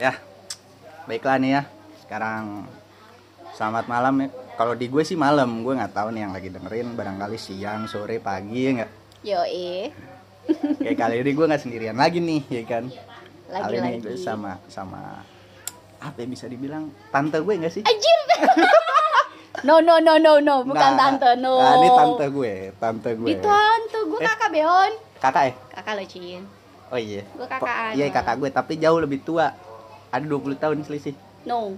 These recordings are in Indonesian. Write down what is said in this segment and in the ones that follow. Ya, baiklah nih ya. Sekarang selamat malam ya. Kalau di gue sih malam, gue nggak tahu nih yang lagi dengerin barangkali siang, sore, pagi ya nggak. Yoi. Kayak kali ini gue nggak sendirian lagi nih, ya kan. kali ini Lagi-lagi. gue sama sama apa ya bisa dibilang tante gue nggak sih? Anjir. no no no no no, bukan Nah, tante no. Nah, ini tante gue, tante gue. Di tante, gue Eh. kakak Beon. Kakak ya? Kakak lo Cin. Oh iya. Gue kakak Iya Ana. kakak gue, tapi jauh lebih tua. Ada 20 tahun selisih. No.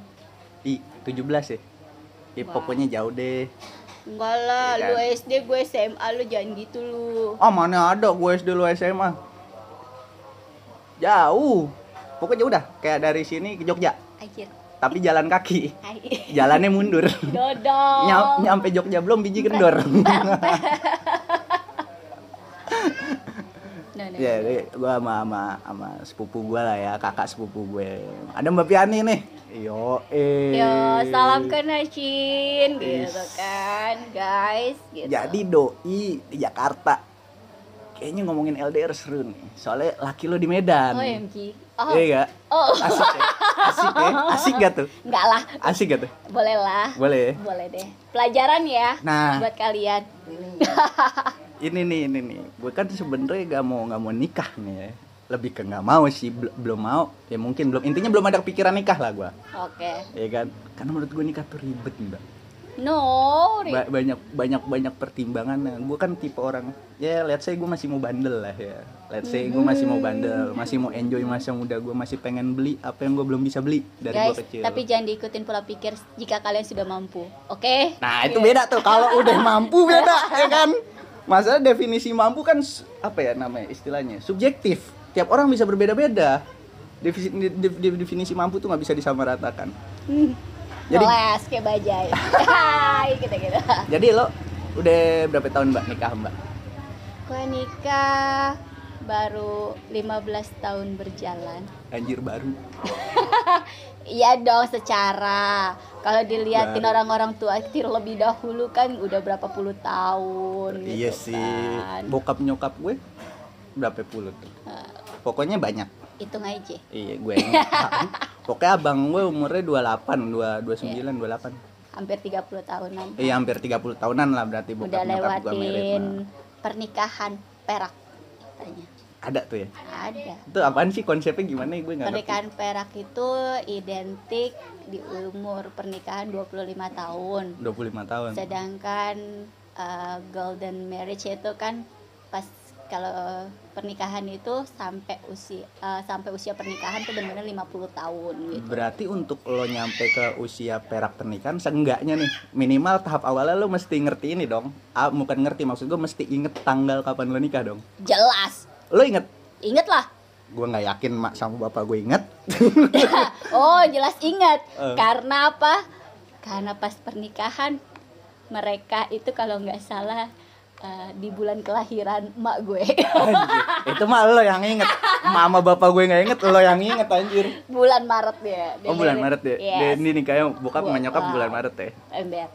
Ih, 17 ya. Ya Wah. pokoknya jauh deh. Enggak lah, Iya lu kan? SD, gue SMA, lu jangan gitu lu. Ah mana ada gue SD lu SMA Jauh Pokoknya udah kayak dari sini ke Jogja Anjir. Tapi jalan kaki Hai. Jalannya mundur Dodol. Nyam- Nyampe Jogja belum biji kendor No, no, no. Ya gue sama, sama, sama sepupu gue lah ya Kakak sepupu gue Ada Mbak Piani nih Yo eh Yo, salam kenal Cin gitu Is. Ya, kan, guys. Gitu. Jadi doi di Jakarta Kayaknya ngomongin LDR seru nih Soalnya laki lo di Medan OMG. Oh, Iya nggak? oh. Asik ya? Asik ya? Asik gak tuh? enggak lah. Asik gak tuh? Boleh lah. Boleh ya? Boleh deh. Pelajaran ya Nah. buat kalian. Ini nih, ini nih. Gue kan sebenernya gak mau nggak mau nikah nih ya. Lebih ke nggak mau sih, bel- belum mau. Ya mungkin belum. Intinya belum ada kepikiran nikah lah gue. Oke. Ya kan? Karena menurut gue nikah tuh ribet mbak. No. Ri. Ba- banyak banyak banyak pertimbangan. Gue kan tipe orang. Ya, lihat saya gue masih mau bandel lah ya. Let's say gue masih mau bandel, masih mau enjoy masa muda gue, masih pengen beli apa yang gue belum bisa beli dari guys, gue kecil. tapi jangan diikutin pola pikir jika kalian sudah mampu. Oke? Nah itu beda tuh kalau udah mampu beda ya kan. Masalah definisi mampu kan s- apa ya namanya istilahnya subjektif. Tiap orang bisa berbeda-beda. Definisi, def- def- definisi mampu tuh nggak bisa disamaratakan. Jadi Kelas Nah, kayak Gitu, bajai. Hai, gitu-gitu. jadi lo udah berapa tahun mbak nikah mbak? Gue nikah baru 15 tahun berjalan. Anjir baru. Iya dong secara kalau diliatin Baru. orang-orang tua lebih dahulu kan udah berapa puluh tahun gitu iya sih. kan. Bokap nyokap gue berapa puluh tuh? Pokoknya banyak. hitung aja Ah. Iya gue yang tahu. Pokoknya abang gue umurnya 28, 29, 28. hampir 30 tahunan Iya hampir 30 tahunan lah berarti bokap udah nyokap gua married, lewatin nah. pernikahan perak katanya Ada tuh ya. ada Itu apaan sih konsepnya gimana ya? gue enggak ngerti. pernikahan perak itu identik di umur pernikahan 25 tahun 25 tahun. sedangkan uh, golden marriage itu kan pas kalau pernikahan itu sampai usia uh, sampai usia pernikahan tuh benar-benar 50 tahun gitu. Berarti untuk lo nyampe ke usia perak pernikahan seenggaknya nih minimal tahap awalnya lo mesti ngerti ini dong. Ah, bukan ngerti maksud gue mesti inget tanggal kapan lo nikah dong. Jelas. Lo inget? Ingat lah. Gue nggak yakin mak sama bapak gue inget. oh, jelas ingat. Eh. Karena apa? Karena pas pernikahan mereka itu kalau nggak salah uh, di bulan kelahiran emak gue. Anjir, itu mah lo yang inget. Mama bapak gue nggak inget, lo yang inget anjir. bulan Maret dia. dia Oh bulan lirik. Maret ya. Dia Yes. Ini nikahnya bokap sama nyokap Wow. bulan Maret ya. Ember.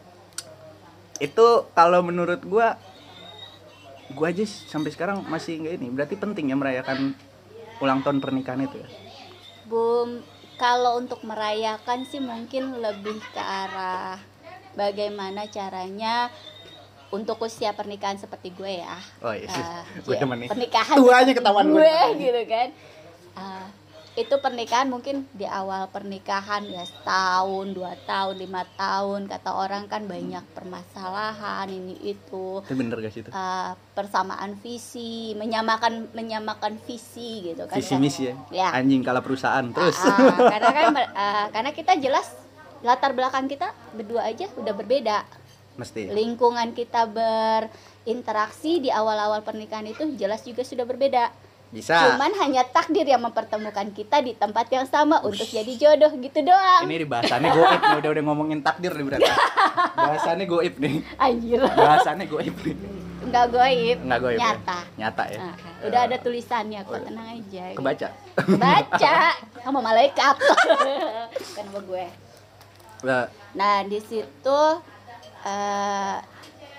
itu kalau menurut gua gua aja s- sampai sekarang masih nggak ini berarti penting ya merayakan ulang tahun pernikahan itu ya Bum, kalau untuk merayakan sih mungkin lebih ke arah bagaimana caranya untuk usia pernikahan seperti gue ya. oh iya sih Eh, gue ya, demen nih Pernikahan tuanya seperti ketahuan gue, gue gitu kan. Eh, itu pernikahan mungkin di awal pernikahan ya setahun, dua tahun, lima tahun kata orang kan banyak permasalahan ini itu itu bener gak sih itu eh, persamaan visi, menyamakan menyamakan visi gitu kan. visi misi ya Ya. anjing kalah perusahaan terus Ah, karena kan ber- ah, karena kita jelas latar belakang kita berdua aja udah berbeda. mesti Lingkungan kita berinteraksi di awal-awal pernikahan itu jelas juga sudah berbeda. bisa Cuman hanya takdir yang mempertemukan kita di tempat yang sama untuk jadi jodoh gitu doang. ini di bahasannya goib nih udah udah ngomongin takdir nih berarti bahasannya goib nih Anjir, bahasannya goib nih nggak goib, nggak goib ya? nyata. nyata ya Ah, udah ada tulisannya kok, tenang aja. kebaca Baca sama malaikat. Bukan Kan sama gue. Lah, Nah, di situ eh,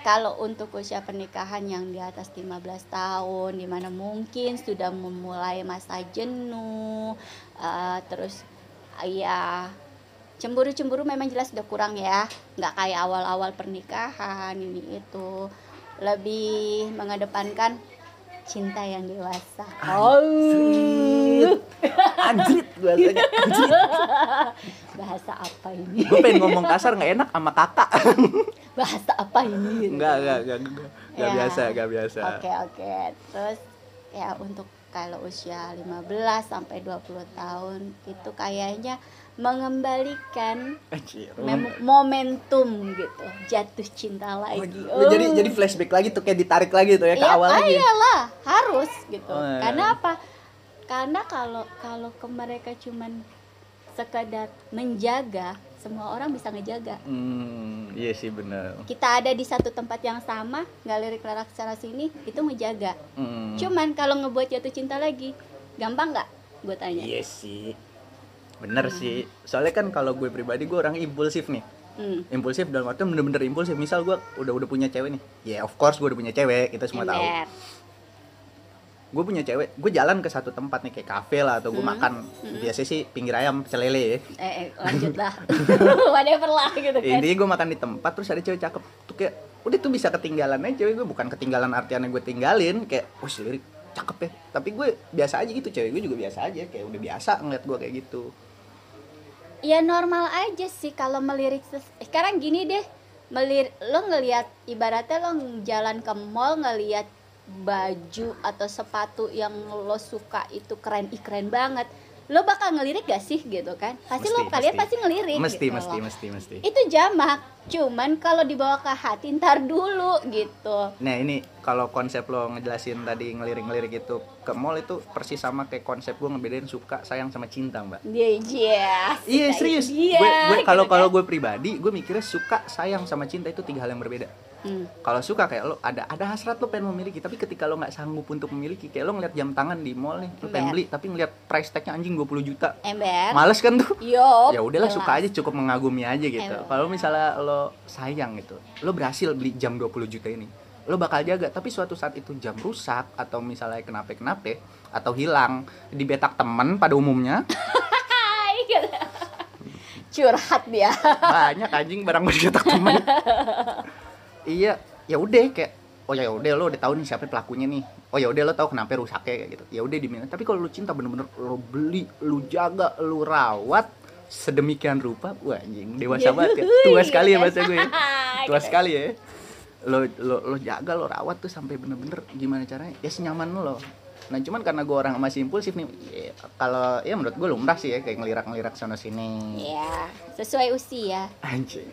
kalau untuk usia pernikahan yang di atas 15 tahun dimana mungkin sudah memulai masa jenuh eh, terus Iya. Cemburu-cemburu memang jelas udah kurang ya. Nggak kayak awal-awal pernikahan ini itu. Lebih mengedepankan cinta yang dewasa. Oh, Anjrit. Anjrit bahasanya. Bahasa apa ini? Gue pengen ngomong kasar nggak enak sama kakak. Bahasa apa ini? Enggak, enggak, enggak, enggak. Enggak Ya. biasa, enggak biasa. Oke, oke. Terus ya untuk kalau usia 15 sampai 20 tahun itu kayaknya mengembalikan Anjir. mem- momentum gitu. Jatuh cinta Oh, lagi. Jadi Oh. jadi flashback lagi tuh kayak ditarik lagi tuh ya ke Iya, awal ah, lagi. iyalah, harus gitu. Oh, iya. Karena apa? Karena kalau kalau ke mereka cuman sekedar menjaga, semua orang bisa ngejaga. Hmm, iya sih benar. Kita ada di satu tempat yang sama, galeri kelar secara sini, itu ngejaga. Hmm. Cuman kalau ngebuat jatuh cinta lagi, gampang nggak? Gue tanya. Iya sih. Bener sih. Soalnya kan kalau gue pribadi gue orang impulsif nih. Hmm. Impulsif dalam artian bener-bener impulsif. Misal gue udah udah punya cewek nih. Ya of course gue udah punya cewek, kita semua tahu. Ember. Gue punya cewek, gue jalan ke satu tempat nih kayak kafe lah atau gue Hmm. makan. Biasanya sih pinggir ayam celele ya. Eh, eh, lanjut lah. Whatever lah gitu Ya, kan. intinya gue makan di tempat terus ada cewek cakep tuh kayak udah tuh bisa ketinggalan aja cewek gue bukan ketinggalan artiannya gue tinggalin kayak oh si lirik cakep ya tapi gue biasa aja gitu cewek gue juga biasa aja kayak udah biasa ngeliat gue kayak gitu Ya normal aja sih kalau melirik ses- eh, sekarang gini deh melir lo ngelihat ibaratnya lo jalan ke mall ngelihat baju atau sepatu yang lo suka itu keren ih keren banget lo bakal ngelirik gak sih gitu kan pasti lo Mesti, kalian mesti. pasti ngelirik mesti gitu mesti loh. mesti mesti itu jamak cuman kalau dibawa ke hati ntar dulu gitu nah ini kalau konsep lo ngejelasin tadi ngelirik-ngelirik itu ke mall itu persis sama kayak konsep gue ngebedain suka sayang sama cinta mbak dia iya Iya suka serius. dia, Gue gue gitu kalau kan. kalau gue pribadi, gue mikirnya suka, sayang sama cinta itu tiga hal yang berbeda. Hmm. Kalau suka kayak lo ada ada hasrat lo pengen memiliki, tapi ketika lo nggak sanggup untuk memiliki, kayak lo ngeliat jam tangan di mall nih, lo pengen Ember. beli, tapi ngeliat price tagnya anjing 20 juta, ember males kan tuh? yo Ya udahlah suka aja, cukup mengagumi aja gitu. Ember. Kalau misalnya lo sayang gitu, lo berhasil beli jam 20 juta ini, lo bakal jaga. Tapi suatu saat itu jam rusak atau misalnya kenapa kenapa atau hilang di betak temen pada umumnya Hai, gitu. curhat dia banyak anjing barang bercetak temen iya ya udah kayak oh ya udah lo udah tahu nih siapa pelakunya nih oh ya udah lo tahu kenapa rusaknya kayak gitu ya udah diminta tapi kalau lo cinta bener-bener lo beli lo jaga lo rawat sedemikian rupa wah anjing dewasa banget ya. tua sekali ya bahasa gue ya. tua Gitu. sekali ya lo, lo lo jaga lo rawat tuh sampai bener-bener gimana caranya ya senyaman lo nah cuman karena gue orang masih impulsif nih ya, kalau ya menurut gue lumrah sih ya kayak ngelirak-ngelirak sana sini Iya, sesuai usia. Anjing.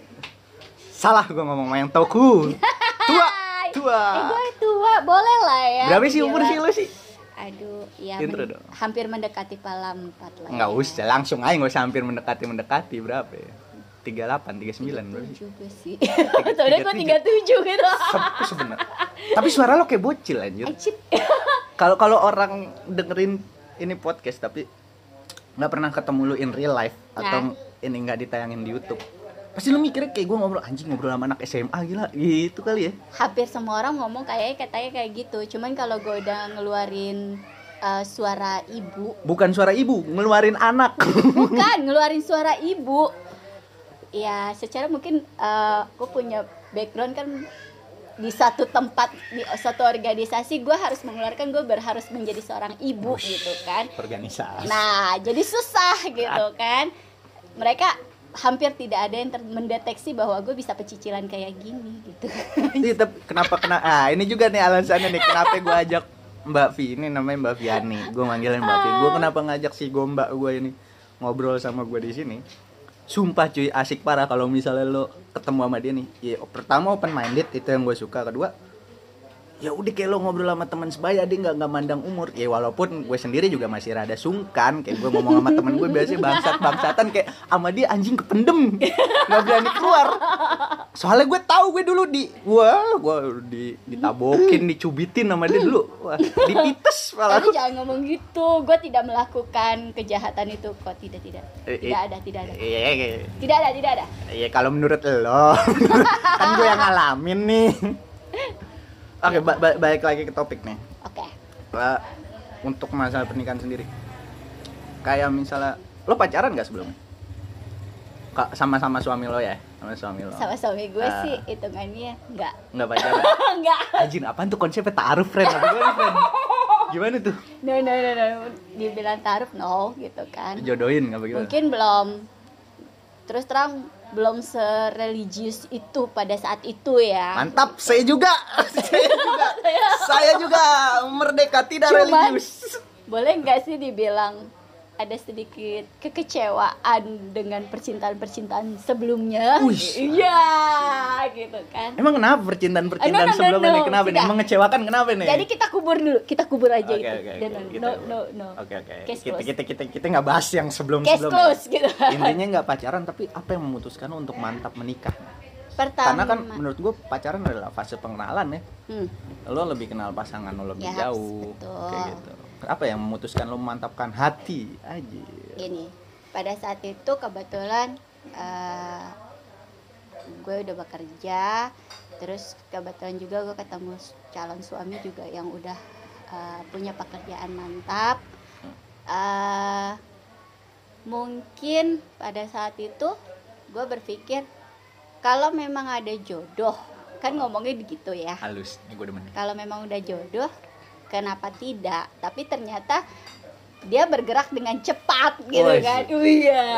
Salah gue ngomong sama yang toku. Tua, Hai. tua. Eh, gue tua, boleh lah ya. Ah. Berapa sih umur Gila. sih lo sih? Aduh, ya Intro men- dong. hampir mendekati pala empat lah. Enggak ya. usah, langsung aja nggak usah hampir mendekati-mendekati berapa ya? 38, 39 berapa sih? Tujuh gue sih. Soalnya gue tiga tujuh gitu. Tapi sebenernya. Tapi suara lo kayak bocil anjir. Acip. Kalau kalau orang dengerin ini podcast tapi nggak pernah ketemu lu in real life Nah. atau ini nggak ditayangin di YouTube. Pasti lu mikirnya kayak gue ngobrol anjing ngobrol sama anak SMA gila gitu kali ya. Hampir semua orang ngomong kayaknya katanya kayak gitu. Cuman kalau gue udah ngeluarin eh, suara ibu, Bukan suara ibu, ngeluarin anak. bukan ngeluarin suara ibu ya secara mungkin gue punya background kan di satu tempat di satu organisasi gue harus mengeluarkan gue berharus menjadi seorang ibu gitu kan Organisasi. nah jadi susah gitu kan mereka hampir tidak ada yang ter- mendeteksi bahwa gue bisa pecicilan kayak gini gitu Ih, tapi kenapa kena ah ini juga nih alasannya nih kenapa gue ajak Mbak Vi ini namanya Mbak Viani gue manggilnya Mbak Vi gue kenapa ngajak si gombak gue ini ngobrol sama gue di sini sumpah cuy asik parah kalau misalnya lo ketemu sama dia nih ya pertama open minded itu yang gue suka kedua ya udah kayak lo ngobrol sama teman sebaya dia nggak nggak mandang umur ya walaupun gue sendiri juga masih rada sungkan kayak gue ngomong sama temen gue biasanya bangsat bangsatan kayak sama dia anjing kependem nggak berani keluar soalnya gue tahu gue dulu di wah gue di ditabokin dicubitin sama dia dulu wah dipites malah Tapi jangan ngomong gitu gue tidak melakukan kejahatan itu kok tidak tidak Eh, tidak ada tidak ada Iya, iya, iya. tidak ada tidak ada Iya kalau menurut lo kan gue yang ngalamin nih. Oke, ba- ba- balik lagi ke topik nih. oke Ba- untuk masalah pernikahan sendiri. Kayak misalnya Lo pacaran gak sebelumnya? Ka- Sama-sama suami lo ya? Sama suami lo. sama suami gue Ah. sih hitungannya nggak Nggak pacaran. nggak Ajin, apaan tuh konsepnya taruh friend? Apa gimana friend? Gimana tuh? no no no no dibilang taruh no gitu kan Jodohin apa gimana? mungkin belum terus terang belum sereligius itu pada saat itu ya Mantap, saya juga. saya juga. saya juga merdeka tidak Cuman- religius. boleh nggak sih dibilang ada sedikit kekecewaan dengan percintaan-percintaan sebelumnya Wih. iya gitu kan Emang kenapa percintaan-percintaan Ah, no, no, no, sebelumnya no. nih? Kenapa nih? Tidak. Mengecewakan kenapa nih? jadi kita kubur dulu kita kubur aja ya? Oke, gitu oke, Dan- oke, no gitu. no no Oke oke. case Kita close kita kita kita nggak bahas yang sebelum case sebelumnya. close gitu Intinya nggak pacaran tapi apa yang memutuskan untuk mantap menikah? pertama Karena kan menurut gue pacaran adalah fase pengenalan ya. Hmm. Lo lebih kenal pasangan lo lebih Yes, jauh. betul. Kayak gitu. Apa yang memutuskan lo memantapkan hati aja? gini pada saat itu kebetulan eh, gue udah bekerja terus kebetulan juga gue ketemu s- calon suami juga yang udah eh, punya pekerjaan mantap Eh, mungkin pada saat itu gue berpikir kalau memang ada jodoh kan ngomongnya begitu ya Halus, ini gue demen. kalau memang udah jodoh kenapa tidak tapi ternyata dia bergerak dengan cepat gitu Wih. kan iya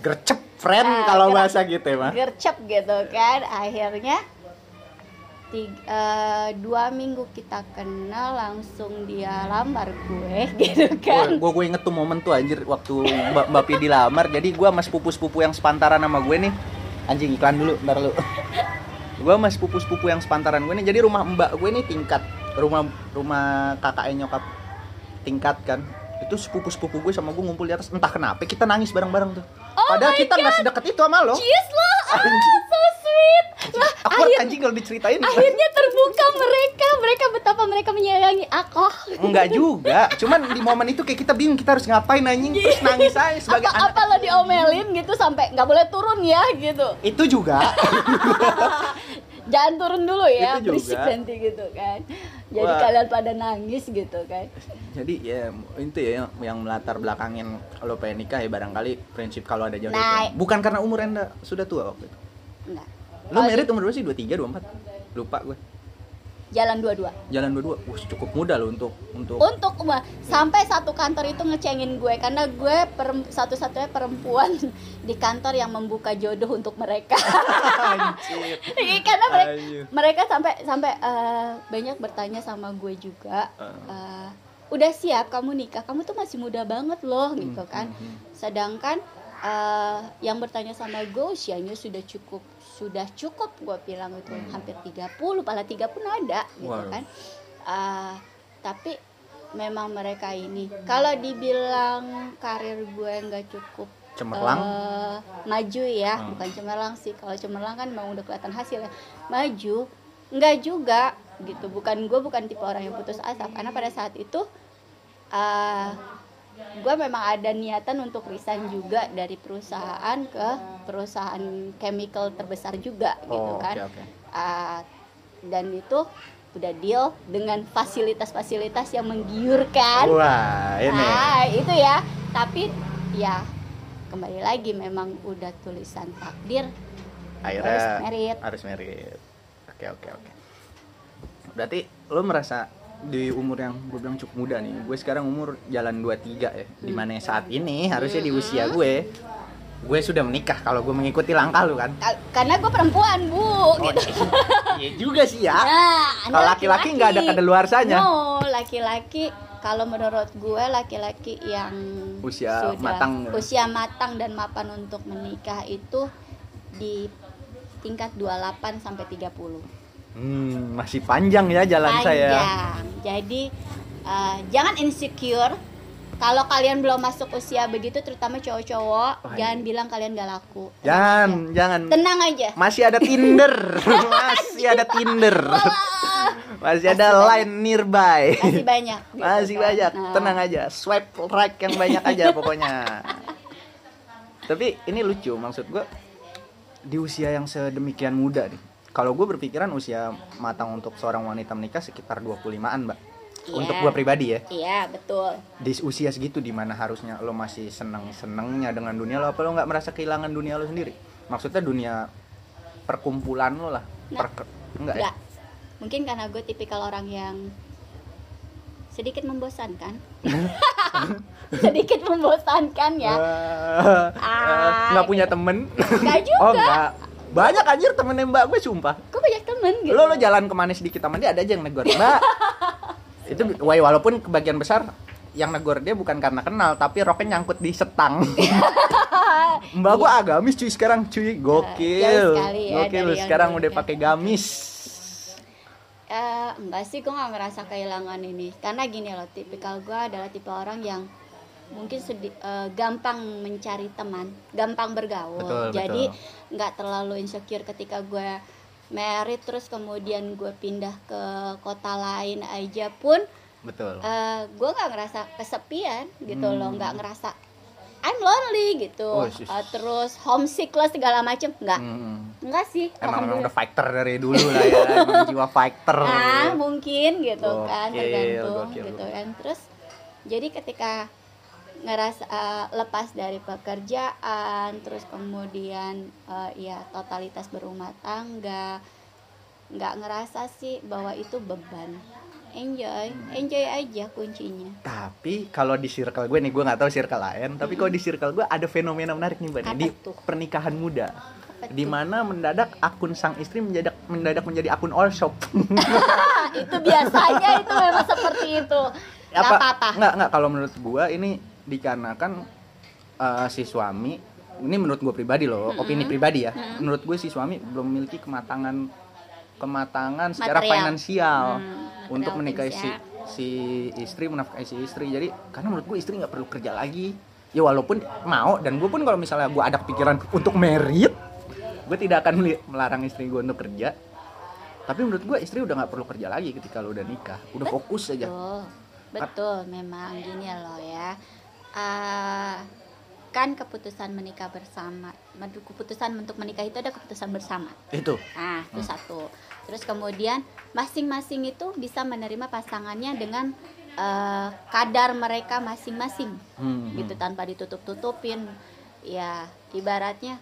Gercep friend Ah, kalau gercep. bahasa gitu ya mah. gercep gitu kan akhirnya tiga, eh, dua minggu kita kenal langsung dia lamar gue gitu kan gue gue inget tuh momen tuh anjir waktu mbak mbak Pi dilamar jadi gue mas pupu sepupu yang sepantaran sama gue nih anjing iklan dulu ntar lu gue mas pupu sepupu yang sepantaran gue nih jadi rumah mbak gue nih tingkat rumah rumah kakaknya nyokap tingkat kan itu sepupu sepupu gue sama gue ngumpul di atas entah kenapa kita nangis bareng bareng tuh Oh padahal kita nggak sedekat itu sama lo cheers loh Anjing. ah, so sweet lah aku akhir- anjing kalau diceritain akhirnya terbuka mereka mereka betapa mereka menyayangi aku Enggak juga, cuman di momen itu kayak kita bingung kita harus ngapain anjing terus nangis aja sebagai apa, anak apa lo diomelin gitu sampai nggak boleh turun ya gitu itu juga jangan turun dulu ya Itu juga. berisik nanti gitu kan jadi Wah. kalian pada nangis gitu kan Jadi ya itu ya yang, yang melatar belakangin lo pengen nikah ya barangkali prinsip kalau ada jodoh. Nah. itu. Bukan karena umur Anda sudah tua waktu itu. enggak Lo Kalau merit umur berapa sih? 23, 24? Lupa gue. jalan dua-dua Jalan 22. Wah, cukup muda lo untuk untuk untuk gua sampai satu kantor itu ngecengin gue karena gue perem- satu-satunya perempuan di kantor yang membuka jodoh untuk mereka Anjir. Iya, karena mereka Ayo. mereka sampai sampai eh, banyak bertanya sama gue juga Ah. eh, udah siap kamu nikah kamu tuh masih muda banget loh gitu kan hmm, hmm. sedangkan eh, yang bertanya sama gue usianya sudah cukup sudah cukup gue bilang itu Hmm. hampir 30 pala 30 pun ada gitu Wow. kan Eh, tapi memang mereka ini kalau dibilang karir gue nggak cukup Cemerlang. eh, maju ya Hmm. bukan cemerlang sih kalau cemerlang kan memang udah kelihatan hasilnya maju nggak juga gitu bukan gue bukan tipe orang yang putus asa karena pada saat itu eh, gue memang ada niatan untuk resign juga dari perusahaan ke perusahaan chemical terbesar juga gitu Oh, oke kan oke. Ah, dan itu udah deal dengan fasilitas-fasilitas yang menggiurkan Wah, ini. Oh. Nah, itu ya. Tapi ya kembali lagi memang udah tulisan takdir. Akhirnya harus merit. Harus merit. Oke oke oke. Berarti lo merasa di umur yang gue bilang cukup muda nih gue sekarang umur jalan 23 ya dimana saat ini harusnya di usia gue gue sudah menikah kalau gue mengikuti langkah lo kan Ka- Karena gue perempuan, Bu, gitu. iya juga sih ya Nah, Anda Oh, kalau laki-laki nggak ada kedeluarsanya No, laki-laki kalau menurut gue laki-laki yang Usia matang. usia matang dan mapan untuk menikah itu di tingkat 28 sampai 30. hmm, masih panjang ya jalan saya panjang. Jadi eh, jangan insecure. Kalau kalian belum masuk usia begitu, terutama cowok-cowok, Wah, iya. jangan Ya. bilang kalian gak laku. jangan jangan Tenang aja. masih ada Tinder masih ada Tinder masih ada Masih line nearby Masih banyak. gitu Masih kan. banyak, Nah, tenang aja. Swipe right yang banyak aja pokoknya. Tapi ini lucu maksud gue di usia yang sedemikian muda nih. Kalau gue berpikiran usia matang untuk seorang wanita menikah sekitar 25-an, Mbak. untuk Iya. gua pribadi ya Iya, betul. di usia segitu dimana harusnya lo masih seneng senengnya dengan dunia lo apa lo nggak merasa kehilangan dunia lo sendiri maksudnya dunia perkumpulan lo lah Nah, Perke- enggak ya Enggak. Mungkin karena gue tipikal orang yang sedikit membosankan. sedikit membosankan ya. Eh. Wah, Ah, nggak punya temen Enggak juga. oh enggak banyak anjir temen mbak gue sumpah Gue banyak temen gitu. lo lo jalan kemana sedikit taman dia ada aja yang negor mbak itu wai- walaupun kebagian besar yang negor dia bukan karena kenal tapi roknya nyangkut di setang mbak gua agamis cuy sekarang cuy gokil Iya. Eh, jauh sekali ya gokil dari yang sekarang gua udah ingat. pakai gamis Eh, enggak sih, gue nggak ngerasa kehilangan ini. Karena gini loh, tipikal gue adalah tipe orang yang mungkin sedi- eh, gampang mencari teman, gampang bergaul. Betul, Jadi betul. nggak terlalu insecure ketika gue married terus kemudian gue pindah ke kota lain aja pun betul eh gue nggak ngerasa kesepian gitu Hmm. loh nggak ngerasa I'm lonely gitu Oh, sis. Eh, terus homesick lah segala macem nggak Hmm. nggak sih emang emang Alhamdulillah. udah fighter dari dulu lah ya emang jiwa fighter Nah, mungkin gitu kan Gokil, tergantung gokil. gitu kan. Terus jadi ketika ngerasa eh, lepas dari pekerjaan, terus kemudian eh, ya totalitas berumah tangga nggak ngerasa sih bahwa itu beban. Enjoy, Hmm. enjoy aja kuncinya. tapi kalau di circle gue nih gue nggak tahu circle lain tapi kalau di circle gue ada fenomena menarik nih mbak nih, Hmm. Apa di tuh? pernikahan muda Apa di tuh? mana mendadak akun sang istri mendadak mendadak menjadi akun all shop Ah, itu biasanya itu memang seperti itu. Gak apa-apa. nggak nggak kalau menurut gua ini dikarenakan eh, si suami ini menurut gue pribadi loh opini pribadi ya menurut gue si suami belum memiliki kematangan kematangan secara Material. finansial Hmm, untuk material menikahi si finansial. si istri menafkahi si istri jadi karena menurut gue istri nggak perlu kerja lagi ya walaupun mau dan gue pun kalau misalnya gue ada pikiran untuk merit gue tidak akan meli- melarang istri gue untuk kerja tapi menurut gue istri udah nggak perlu kerja lagi ketika lo udah nikah udah fokus aja Betul, betul memang gini loh ya. Ah, kan keputusan menikah bersama, men- keputusan untuk menikah itu ada keputusan bersama. itu Nah, itu satu. Terus kemudian masing-masing itu bisa menerima pasangannya dengan eh, kadar mereka masing-masing, Hmm, gitu tanpa ditutup-tutupin. Ya, ibaratnya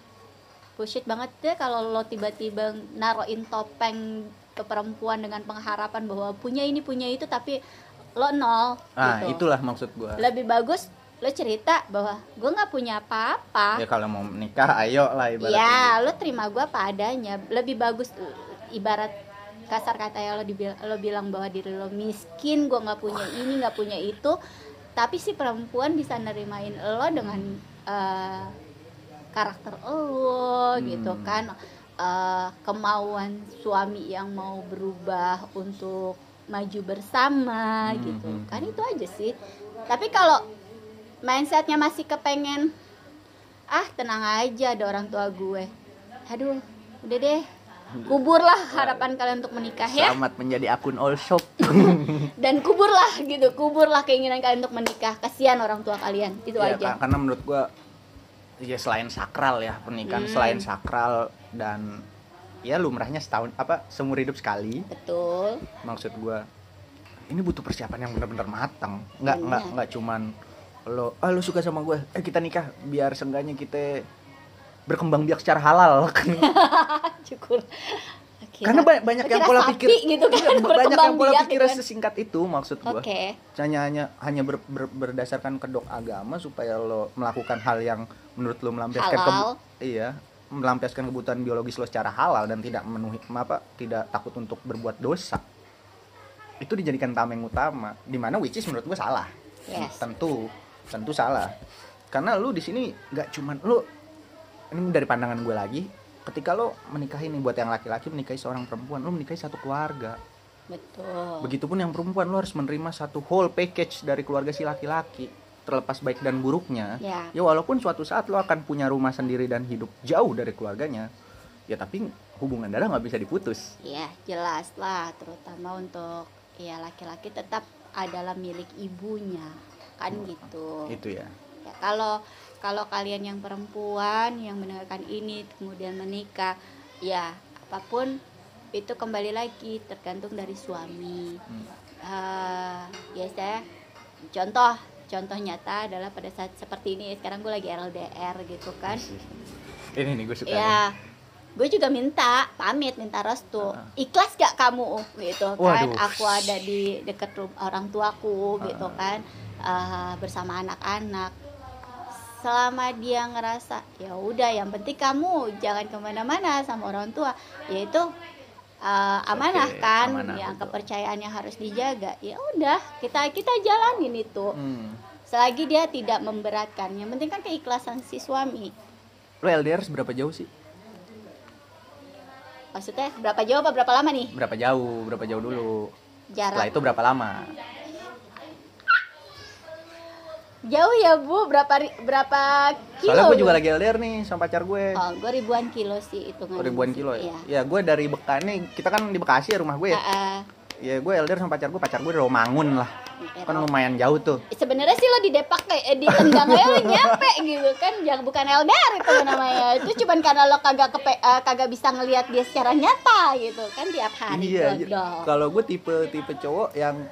bullshit banget deh kalau lo tiba-tiba naroin topeng ke perempuan dengan pengharapan bahwa punya ini punya itu tapi lo nol Ah, gitu. itulah maksud gua. Lebih bagus lo cerita bahwa gue nggak punya apa-apa. Ya kalau mau menikah ayo lah ibaratnya. gitu. Iya, lo terima gue apa adanya. Lebih bagus uh, ibarat kasar kata ya lo dibil- lo bilang bahwa diri lo miskin, gue nggak punya ini, nggak punya itu. Tapi si perempuan bisa nerimain lo dengan uh, karakter lo Hmm. gitu kan. Uh, kemauan suami yang mau berubah untuk maju bersama Hmm, gitu hmm, kan itu aja sih tapi kalau mindsetnya masih kepengen ah tenang aja ada orang tua gue aduh udah deh kuburlah harapan kalian untuk menikah ya Selamat menjadi akun all shop. dan kuburlah gitu kuburlah keinginan kalian untuk menikah kasihan orang tua kalian itu Iya, aja Kak, karena menurut gua ya selain sakral ya pernikahan Hmm. selain sakral dan ya lumrahnya setahun apa seumur hidup sekali betul maksud gua ini butuh persiapan yang benar-benar matang nggak nggak Benar. nggak cuman lo ah lo suka sama gue eh kita nikah biar seenggaknya kita berkembang biak secara halal ah, syukur Kira- karena ba- banyak yang kira pola sapi pikir gitu Iya, kan banyak yang berkembang pola biak pikir gitu kan. sesingkat itu maksud oke gua hanya hanya hanya ber- ber- berdasarkan kedok agama supaya lo melakukan hal yang menurut lo melampiaskan Halal. iya melampiaskan kebutuhan biologis lo secara halal dan tidak memenuhi apa tidak takut untuk berbuat dosa itu dijadikan tameng utama dimana which is menurut gue salah Yes. tentu tentu salah karena lu di sini nggak cuman lu ini dari pandangan gue lagi ketika lo menikahi nih buat yang laki-laki menikahi seorang perempuan lo menikahi satu keluarga betul Begitupun yang perempuan lo harus menerima satu whole package dari keluarga si laki-laki terlepas baik dan buruknya. Ya. Ya walaupun suatu saat lo akan punya rumah sendiri dan hidup jauh dari keluarganya. Ya tapi hubungan darah nggak bisa diputus. ya jelas lah terutama untuk ya laki-laki tetap adalah milik ibunya kan gitu Itu ya. Ya, kalau kalau kalian yang perempuan yang mendengarkan ini kemudian menikah, ya apapun itu kembali lagi tergantung dari suami. Hmm. eh, ya saya contoh contoh nyata adalah pada saat seperti ini sekarang gue lagi LDR gitu kan Ini nih gue suka. nih. ya gue juga minta pamit minta restu kan. Ah. ikhlas gak kamu gitu kan Waduh. aku ada di deket rum- orang tuaku gitu Ah. kan eh, bersama anak-anak selama dia ngerasa ya udah yang penting kamu jangan kemana-mana sama orang tua yaitu eh, amanah Oke, kan amanah, yang betul. kepercayaan yang harus dijaga ya udah kita kita jalanin itu Hmm. selagi dia tidak memberatkan yang penting kan keikhlasan si suami Lo LDR seberapa jauh sih? maksudnya berapa jauh apa berapa lama nih Berapa jauh? Berapa jauh dulu? Setelah jarak itu berapa lama? jauh ya bu berapa ri- berapa kilo Soalnya gue juga Bu? lagi LDR nih sama pacar gue. oh iya. gue ribuan kilo sih itu ribuan kilo ya. Ya gue dari Bekasi, kita kan di Bekasi ya rumah gue. iya Ya, ya gue LDR sama pacar gue, pacar gue di Romangun lah. Heeh. Kan lumayan jauh tuh. sebenarnya sih lo di depak kayak eh, di tendang aja lo nyampe gitu kan jangan bukan LDR itu namanya itu cuman karena lo kagak kepe, eh, kagak bisa ngelihat dia secara nyata gitu kan tiap hari Iya, iya. goblok. kalau gue tipe tipe cowok yang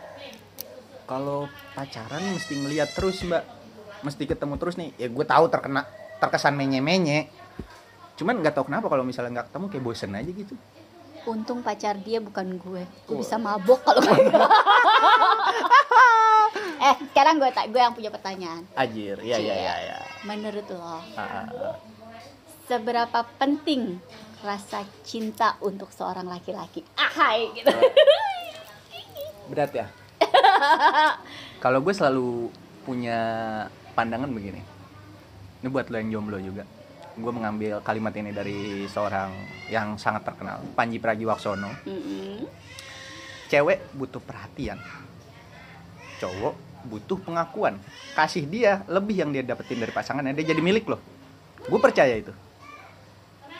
kalau pacaran mesti ngeliat terus mbak, mesti ketemu terus nih. Ya gue tahu terkena terkesan menye-menye. Cuman nggak tahu kenapa kalau misalnya nggak ketemu kayak bosen aja gitu. untung pacar dia bukan gue gue Wah. bisa mabok kalau kagak. eh sekarang gue tak gue yang punya pertanyaan Ajir, iya iya iya. iya. menurut lo Ah, ah, ah. seberapa penting rasa cinta untuk seorang laki-laki ahai gitu Berat ya. kalau gue selalu punya pandangan begini. Ini buat lo yang jomblo juga. Gue mengambil kalimat ini dari seorang yang sangat terkenal, Panji Pragiwaksono. Mm-mm. cewek butuh perhatian cowok butuh pengakuan kasih dia lebih yang dia dapetin dari pasangannya dia jadi milik loh gue percaya itu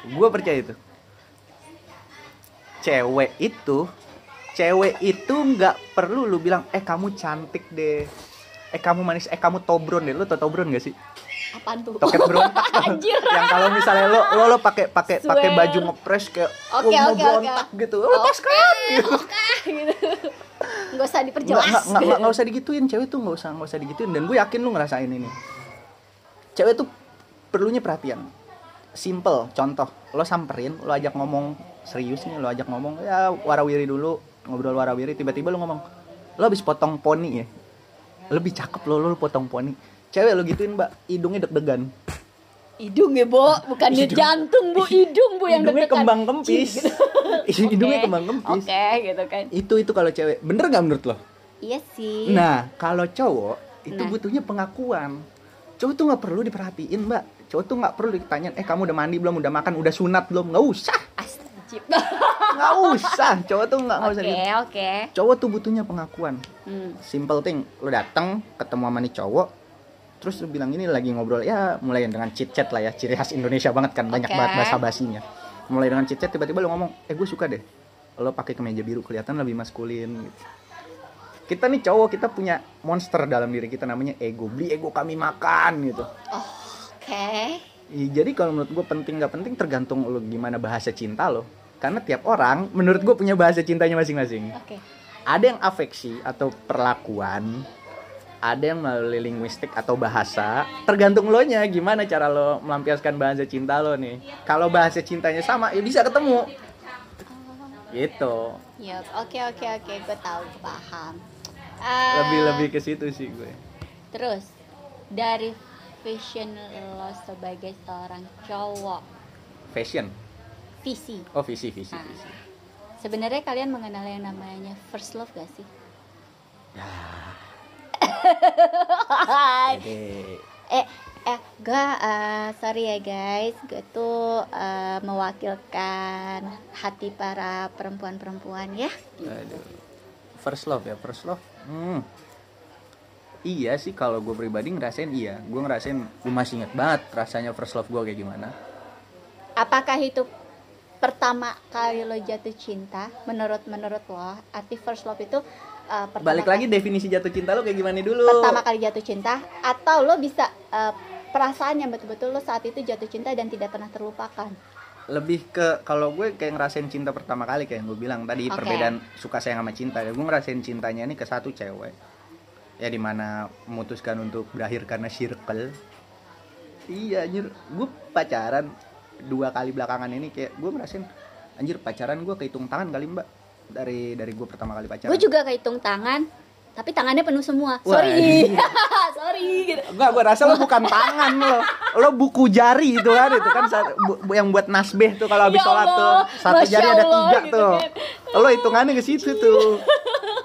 gue percaya itu cewek itu cewek itu nggak perlu lu bilang eh kamu cantik deh eh kamu manis eh kamu tobron deh lu tau tobron gak sih apaan tuh toket berontak Anjir. yang kalau misalnya lo lo lo pakai pakai pakai Swear. baju ngepres kayak Oke, "Wah, mau oke, oke. berontak gitu lo tas keren gitu gitu Oh, nggak usah nggak diperjelas nggak nggak nggak- nggak usah digituin cewek tuh nggak usah nggak usah digituin dan gue yakin lu ngerasain ini cewek tuh perlunya perhatian simple contoh lo samperin lo ajak ngomong serius nih lo ajak ngomong ya warawiri dulu ngobrol warawiri tiba-tiba lo ngomong lo habis potong poni ya lebih cakep lo lo potong poni cewek lo gituin mbak hidungnya deg-degan hidung ya bu bukan di Hidung. jantung bu hidung bu yang hidungnya deg-degan. kembang kempis Cih, gitu. hidungnya Oke. kembang kempis oke gitu kan itu itu kalau cewek bener nggak menurut lo iya sih Nah, kalau cowok itu Nah. butuhnya pengakuan. Cowok tuh nggak perlu diperhatiin, Mbak. Cowok tuh nggak perlu ditanya, eh kamu udah mandi belum, udah makan, udah sunat belum? Nggak usah, Astagfirullah. nggak usah. Cowok tuh nggak nggak usah. oke gitu. oke Cowok tuh butuhnya pengakuan. Hmm. Simple thing, lo datang ketemu sama nih cowok, terus lu bilang ini lagi ngobrol ya mulai dengan chit chat lah ya ciri khas Indonesia banget kan banyak Oke. banget bahasa basinya mulai dengan chit chat tiba-tiba lu ngomong eh gue suka deh lo pakai kemeja biru kelihatan lebih maskulin gitu kita nih cowok kita punya monster dalam diri kita namanya ego beli ego kami makan gitu oke Ih, jadi kalau menurut gue penting nggak penting tergantung lo gimana bahasa cinta lo karena tiap orang menurut gue punya bahasa cintanya masing-masing oke ada yang afeksi atau perlakuan ada yang melalui linguistik atau bahasa tergantung lo nya gimana cara lo melampiaskan bahasa cinta lo nih kalau bahasa cintanya sama ya bisa ketemu gitu Yup, Um, ya, oke oke oke gue tahu gue paham Ah, lebih lebih ke situ sih gue Terus dari vision lo sebagai seorang cowok fashion visi. oh visi visi Ah. visi Sebenarnya kalian mengenal yang namanya first love gak sih? Ya, Jadi, eh eh gue sorry ya guys gue tuh eh, mewakilkan hati para perempuan-perempuan ya. aduh. first love ya first love Hmm. Iya sih kalau gue pribadi ngerasain iya Gue ngerasain gue masih inget banget rasanya first love gue kayak gimana Apakah itu pertama kali lo jatuh cinta menurut menurut lo arti first love itu eh, pertama balik kali- lagi definisi jatuh cinta lo kayak gimana dulu pertama kali jatuh cinta atau lo bisa eh, perasaan yang betul-betul lo saat itu jatuh cinta dan tidak pernah terlupakan lebih ke kalau gue kayak ngerasain cinta pertama kali kayak yang gue bilang tadi Oke. perbedaan suka sayang sama cinta gue ngerasain cintanya ini ke satu cewek ya dimana memutuskan untuk berakhir karena circle iya anjir gue pacaran dua kali belakangan ini kayak gue merasain anjir pacaran gue kehitung tangan kali mbak dari dari gue pertama kali pacaran Gue juga kehitung tangan, tapi tangannya penuh semua. Wah. iya. Sorry, sorry. gitu. Enggak, gue rasa lo bukan tangan lo Lo buku jari itu kan Itu kan saat- bu- bu- yang buat nasbeh tuh kalau habis Ya sholat tuh Allah, Satu Masya jari ada Allah, tiga gitu tuh kan. Iya. Lo hitungannya ke situ tuh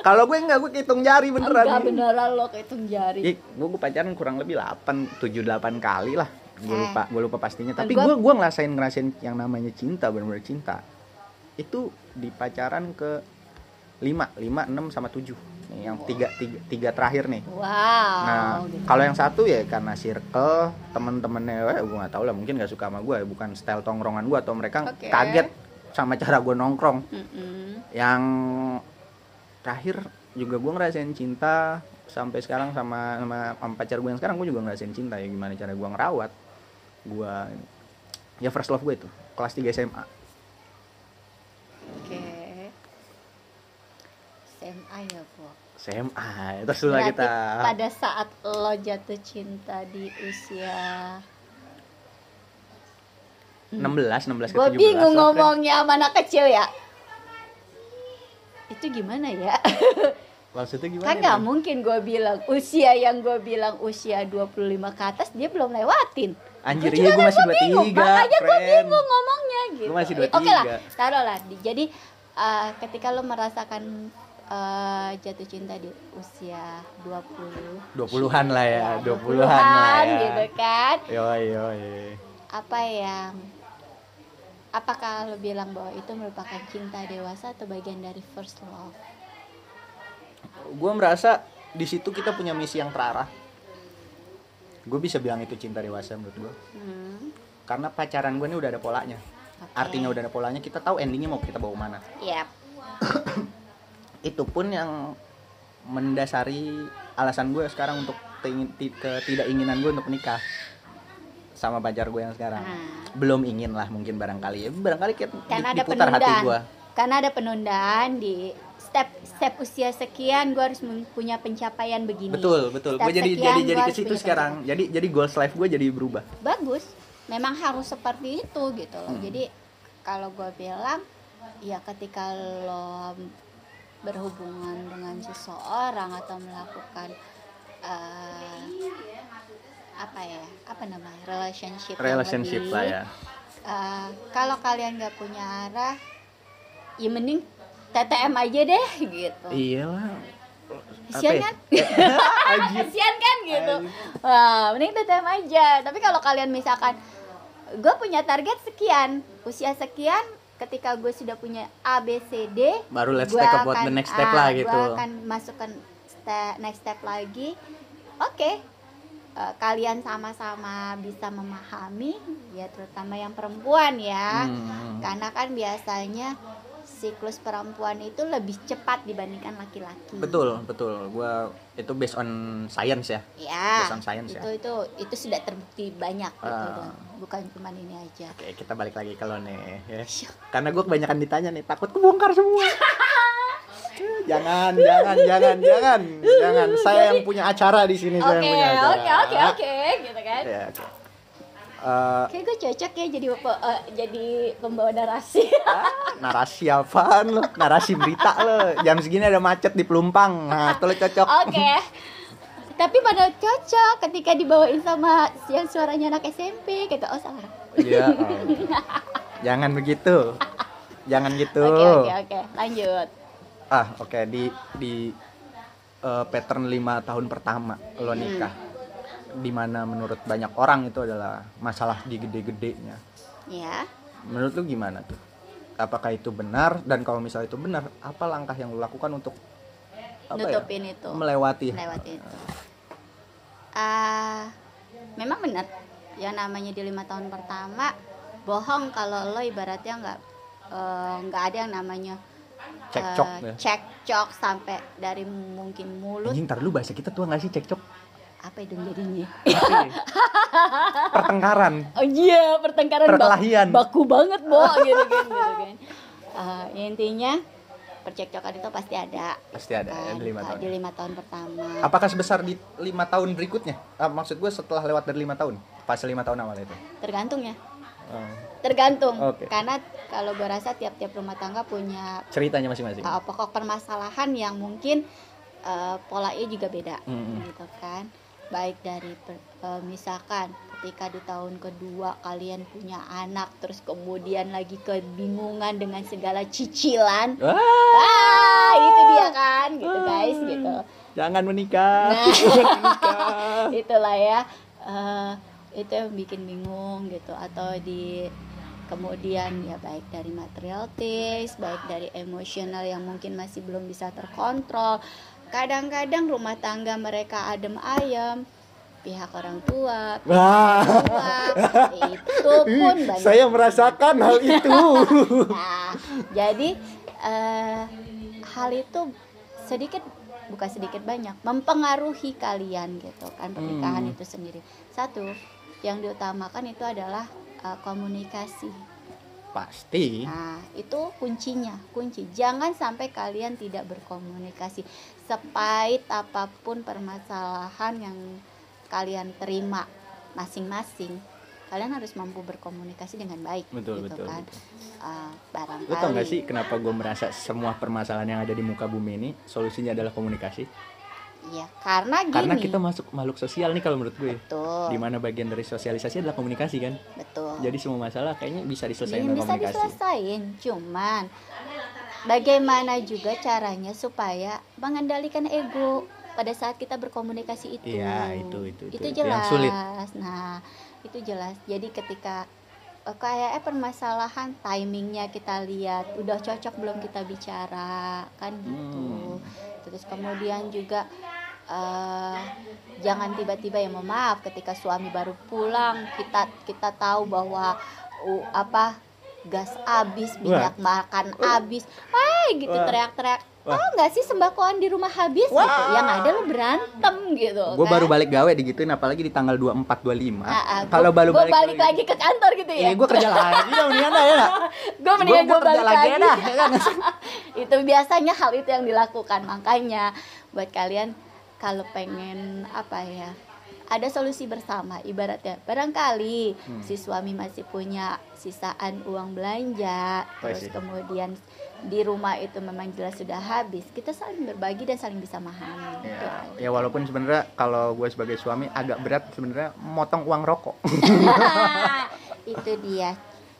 Kalau gue enggak, gue hitung jari beneran Iya. Enggak beneran lo kehitung jari. Ih, gue, gue pacaran kurang lebih 8, 7-8 kali lah Gue Eh. lupa, gue lupa pastinya Dan Tapi gua- gue gue ngerasain, ngerasain yang namanya cinta, bener-bener cinta Itu di pacaran ke 5, 5, 6 sama 7 Nih, yang tiga, tiga, tiga terakhir nih Wow. Nah, gitu. kalau yang satu ya karena circle temen-temennya, eh, gue nggak tahu lah, mungkin nggak suka sama gue, bukan style tongkrongan gue atau mereka Oke. kaget sama cara gue nongkrong. Mm-mm. Yang terakhir juga gue ngerasain cinta sampai sekarang sama sama, sama pacar gue yang sekarang gue juga ngerasain cinta ya gimana cara gue ngerawat gue ya first love gue itu kelas 3 SMA Oke. SMA ya, Bu. SMA terus lah Berarti kita pada saat lo jatuh cinta di usia 16 16 ke Gue 17 lah, hmm. bingung Fren. ngomongnya sama anak kecil ya Itu gimana ya? maksudnya gimana kan ya, nggak Fren? mungkin gue bilang usia yang gue bilang usia 25 ke atas dia belum lewatin Anjir, Gua juga iya gue kan masih gua bingung, 23, Makanya gue friend. bingung ngomongnya Gua gitu Eh, masih Eh, Oke lah, 23. taruh lah Di- Jadi eh, ketika lo merasakan eh, jatuh cinta di usia 20 20-an lah ya, Ya, 20-an lah ya. gitu kan Yoi, yoi. Apa yang Apakah lo bilang bahwa itu merupakan cinta dewasa atau bagian dari first love? Gue merasa di situ kita punya misi yang terarah. Gue bisa bilang itu cinta dewasa menurut gue. Hmm, Karena pacaran gue ini udah ada polanya. oke. Artinya udah ada polanya, kita tahu endingnya mau kita bawa mana. Yap. Itu pun yang mendasari alasan gue sekarang untuk keingin- ti- ketidakinginan gue untuk menikah sama pacar gue yang sekarang. Ah. Belum ingin lah mungkin barangkali. Ya, barangkali kayak di- karena ada diputar hati penundaan gue. karena ada penundaan di step step usia sekian gue harus punya pencapaian begini Betul, betul. Step Gue jadi sekian, jadi jadi gua ke harus situ punya sekarang. Jadi jadi goals life gue jadi berubah. bagus memang harus seperti itu gitu loh Hmm. jadi kalau gue bilang ya ketika lo berhubungan dengan seseorang atau melakukan eh, apa ya apa namanya relationship yang Relationship lebih, lah ya. Uh, kalau kalian nggak punya arah ya mending TTM aja deh gitu Iya lah. Kasian kan? kasihan kan gitu Wah, mending TTM aja tapi kalau kalian misalkan gue punya target sekian usia sekian ketika gue sudah punya A B C D Baru let's gua take about akan- the next step ah, lah gua gitu. akan masukkan ste- next step lagi oke eh, kalian sama-sama bisa memahami ya terutama yang perempuan ya Hmm. karena kan biasanya siklus perempuan itu lebih cepat dibandingkan laki-laki. Betul, betul. Gua itu based on science ya. Ya. Based on science ya. itu itu itu sudah terbukti banyak gitu, Ah. Dan bukan cuma ini aja. Oke, kita balik lagi ke lo nih. ya. Iya. Karena gue kebanyakan ditanya nih, takut kebongkar semua. Eh, jangan, jangan, jangan, jangan, jangan. Saya yang punya acara di sini, saya yang Oke, punya acara. oke, oke, oke, gitu kan. Ya, oke. Eh, Kayak gue cocok ya jadi pe- eh, jadi pembawa narasi. Ah, narasi apaan lo? Narasi berita lo. Jam segini ada macet di Pelumpang. Nah, itu lo cocok. Oke. Tapi pada cocok ketika dibawain sama yang suaranya anak SMP gitu. Oh, salah. Iya. Allah. Jangan begitu. Jangan gitu. Oke, oke, oke. Lanjut. Ah, oke di di eh, pattern 5 tahun pertama lo nikah. Hmm. Dimana menurut banyak orang itu adalah masalah di gede-gedenya. Ya. Menurut lu gimana tuh? Apakah itu benar dan kalau misalnya itu benar, apa langkah yang lu lakukan untuk apa ya? Nutupin itu. Nah, melewati Melewati itu. Ah, memang benar yang namanya di lima tahun pertama bohong kalau lo ibaratnya nggak eh, nggak ada yang namanya eh, Cekcok ya. cekcok sampai dari mungkin mulut Anjing ntar dulu bahasa kita tua gak sih cekcok? apa dong jadinya Tapi, pertengkaran oh iya pertengkaran bak- Perkelahian. baku banget bo gitu kan gitu kan Eh, ya intinya percekcokan itu pasti ada pasti ada ya, kan, di lima eh, tahun. di lima tahun pertama Apakah sebesar di lima tahun berikutnya? Ah, maksud gue setelah lewat dari lima tahun, pas lima tahun awal itu. tergantung ya Oh, tergantung Oke. karena kalau gue rasa tiap-tiap rumah tangga punya ceritanya masing-masing. uh, pokok permasalahan yang mungkin uh, polanya juga beda Mm-mm. gitu kan baik dari per- uh, misalkan ketika di tahun kedua kalian punya anak terus kemudian lagi kebingungan dengan segala cicilan Wah, ah itu dia kan gitu guys gitu jangan menikah. Nah. Jangan menikah. itulah ya eh, itu yang bikin bingung gitu atau di kemudian ya baik dari material taste baik dari emosional yang mungkin masih belum bisa terkontrol kadang-kadang rumah tangga mereka adem ayem pihak orang tua Wah, tua, itu pun banyak saya merasakan hal itu. Nah, jadi eh, hal itu sedikit bukan sedikit banyak mempengaruhi kalian gitu kan pernikahan Hmm. itu sendiri. Satu, yang diutamakan itu adalah eh, komunikasi. Pasti. Nah, itu kuncinya, kunci. Jangan sampai kalian tidak berkomunikasi. Sepahit apapun permasalahan yang kalian terima masing-masing, kalian harus mampu berkomunikasi dengan baik Betul, gitu betul, kan. betul. Eh, barangkali Lu tau gak sih kenapa gue merasa semua permasalahan yang ada di muka bumi ini solusinya adalah komunikasi? Iya, karena gini. Karena kita masuk makhluk sosial nih kalau menurut gue. betul. Di mana bagian dari sosialisasi adalah komunikasi kan? Betul. Jadi semua masalah kayaknya bisa diselesaikan Jadi dengan Oh. bisa komunikasi. diselesain, cuman bagaimana juga caranya supaya mengendalikan ego pada saat kita berkomunikasi itu. Iya, itu- itu- itu- Itu itu yang jelas. sulit. Nah, itu jelas. Jadi ketika eh, kayaknya permasalahan timingnya kita lihat udah cocok belum kita bicara kan Hmm. gitu. Terus kemudian juga eh, jangan tiba-tiba ya mohon maaf ketika suami baru pulang kita kita tahu bahwa uh, apa gas habis, minyak makan habis. Wah, gitu Wah. teriak-teriak. Wah. Tahu nggak sih sembakoan di rumah habis gitu. Wah. Yang ada lu berantem gitu. Gue kan. baru balik gawe digituin apalagi di tanggal 24 25. Ah, ah, gua- Kalau baru gua balik, Iya, balik, lagi ke kantor gitu ya. Ini gue kerja lagi ya mendingan dah, ya. dah. gue mendingan Gua- gue gua kerja balik lagi. dah, ya kan? itu biasanya hal itu yang dilakukan makanya buat kalian kalau pengen apa ya ada solusi bersama ibaratnya barangkali Hmm. si suami masih punya sisaan uang belanja Oh, terus sih. kemudian di rumah itu memang jelas sudah habis kita saling berbagi dan saling bisa memahami Gitu. Ya, Itu aja. ya walaupun sebenarnya kalau gue sebagai suami agak berat sebenarnya motong uang rokok. itu dia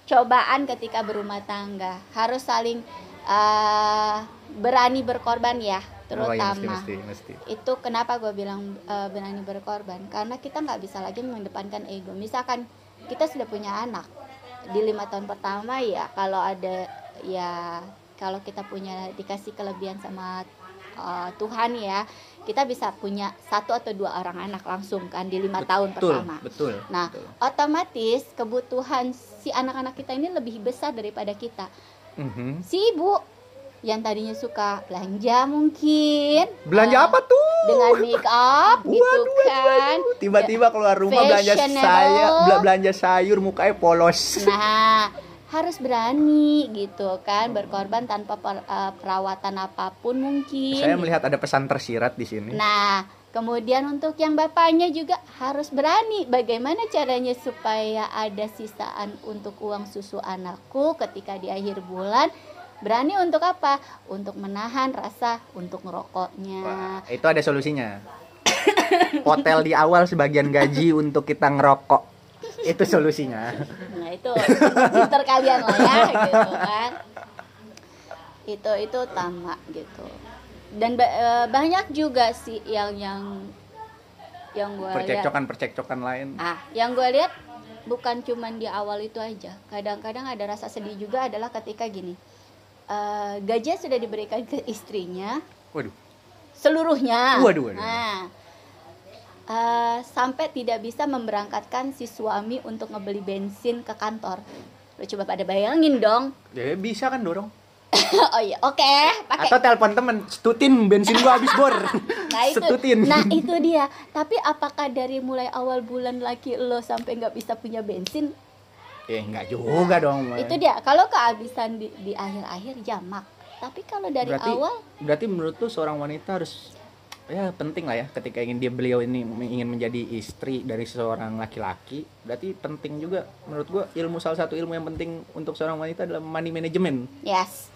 cobaan ketika berumah tangga harus saling eh, berani berkorban ya Oh, iya, mesti, terutama mesti, mesti. itu kenapa gue bilang eh, berani berkorban karena kita nggak bisa lagi mengedepankan ego misalkan kita sudah punya anak di lima tahun pertama ya kalau ada ya kalau kita punya dikasih kelebihan sama eh, Tuhan ya kita bisa punya satu atau dua orang anak langsung kan di lima tahun betul, pertama betul. Nah, betul. otomatis kebutuhan si anak-anak kita ini lebih besar daripada kita. Mhm. Si ibu yang tadinya suka belanja mungkin Belanja eh, apa tuh? dengan make up gitu kan. Tiba-tiba keluar rumah belanja Fashionable. saya, bela- belanja sayur mukanya polos. Nah, harus berani gitu kan berkorban tanpa per- eh, perawatan apapun mungkin. Saya melihat ada pesan tersirat di sini. Nah, kemudian untuk yang bapaknya juga harus berani. Bagaimana caranya supaya ada sisaan untuk uang susu anakku ketika di akhir bulan? Berani untuk apa? Untuk menahan rasa untuk ngerokoknya. Wah, itu ada solusinya. Hotel di awal sebagian gaji untuk kita ngerokok. Itu solusinya. Nah, itu pinter kalian lah ya gitu kan. Itu itu utama gitu. Dan ba- eh, banyak juga sih yang yang yang gue Percekcokan-percekcokan lain. Ah, yang gue lihat bukan cuman di awal itu aja. Kadang-kadang ada rasa sedih juga adalah ketika gini. eh gajinya sudah diberikan ke istrinya Waduh. seluruhnya. Waduh, waduh. Nah, eh, sampai tidak bisa memberangkatkan si suami untuk ngebeli bensin ke kantor. Lo coba pada bayangin dong. Ya bisa kan dorong. oh iya, oke, pakai. Atau telepon temen, setutin bensin gua habis bor. Nah itu, Setutin. nah itu dia. Tapi apakah dari mulai awal bulan lagi lo sampai nggak bisa punya bensin? Eh enggak juga dong. Mai. Itu dia. Kalau kehabisan di, di akhir-akhir jamak. Tapi kalau dari berarti, awal, Berarti menurut tuh seorang wanita harus ya penting lah ya ketika ingin dia beliau ini ingin menjadi istri dari seorang laki-laki berarti penting juga menurut gua ilmu salah satu ilmu yang penting untuk seorang wanita adalah money management yes.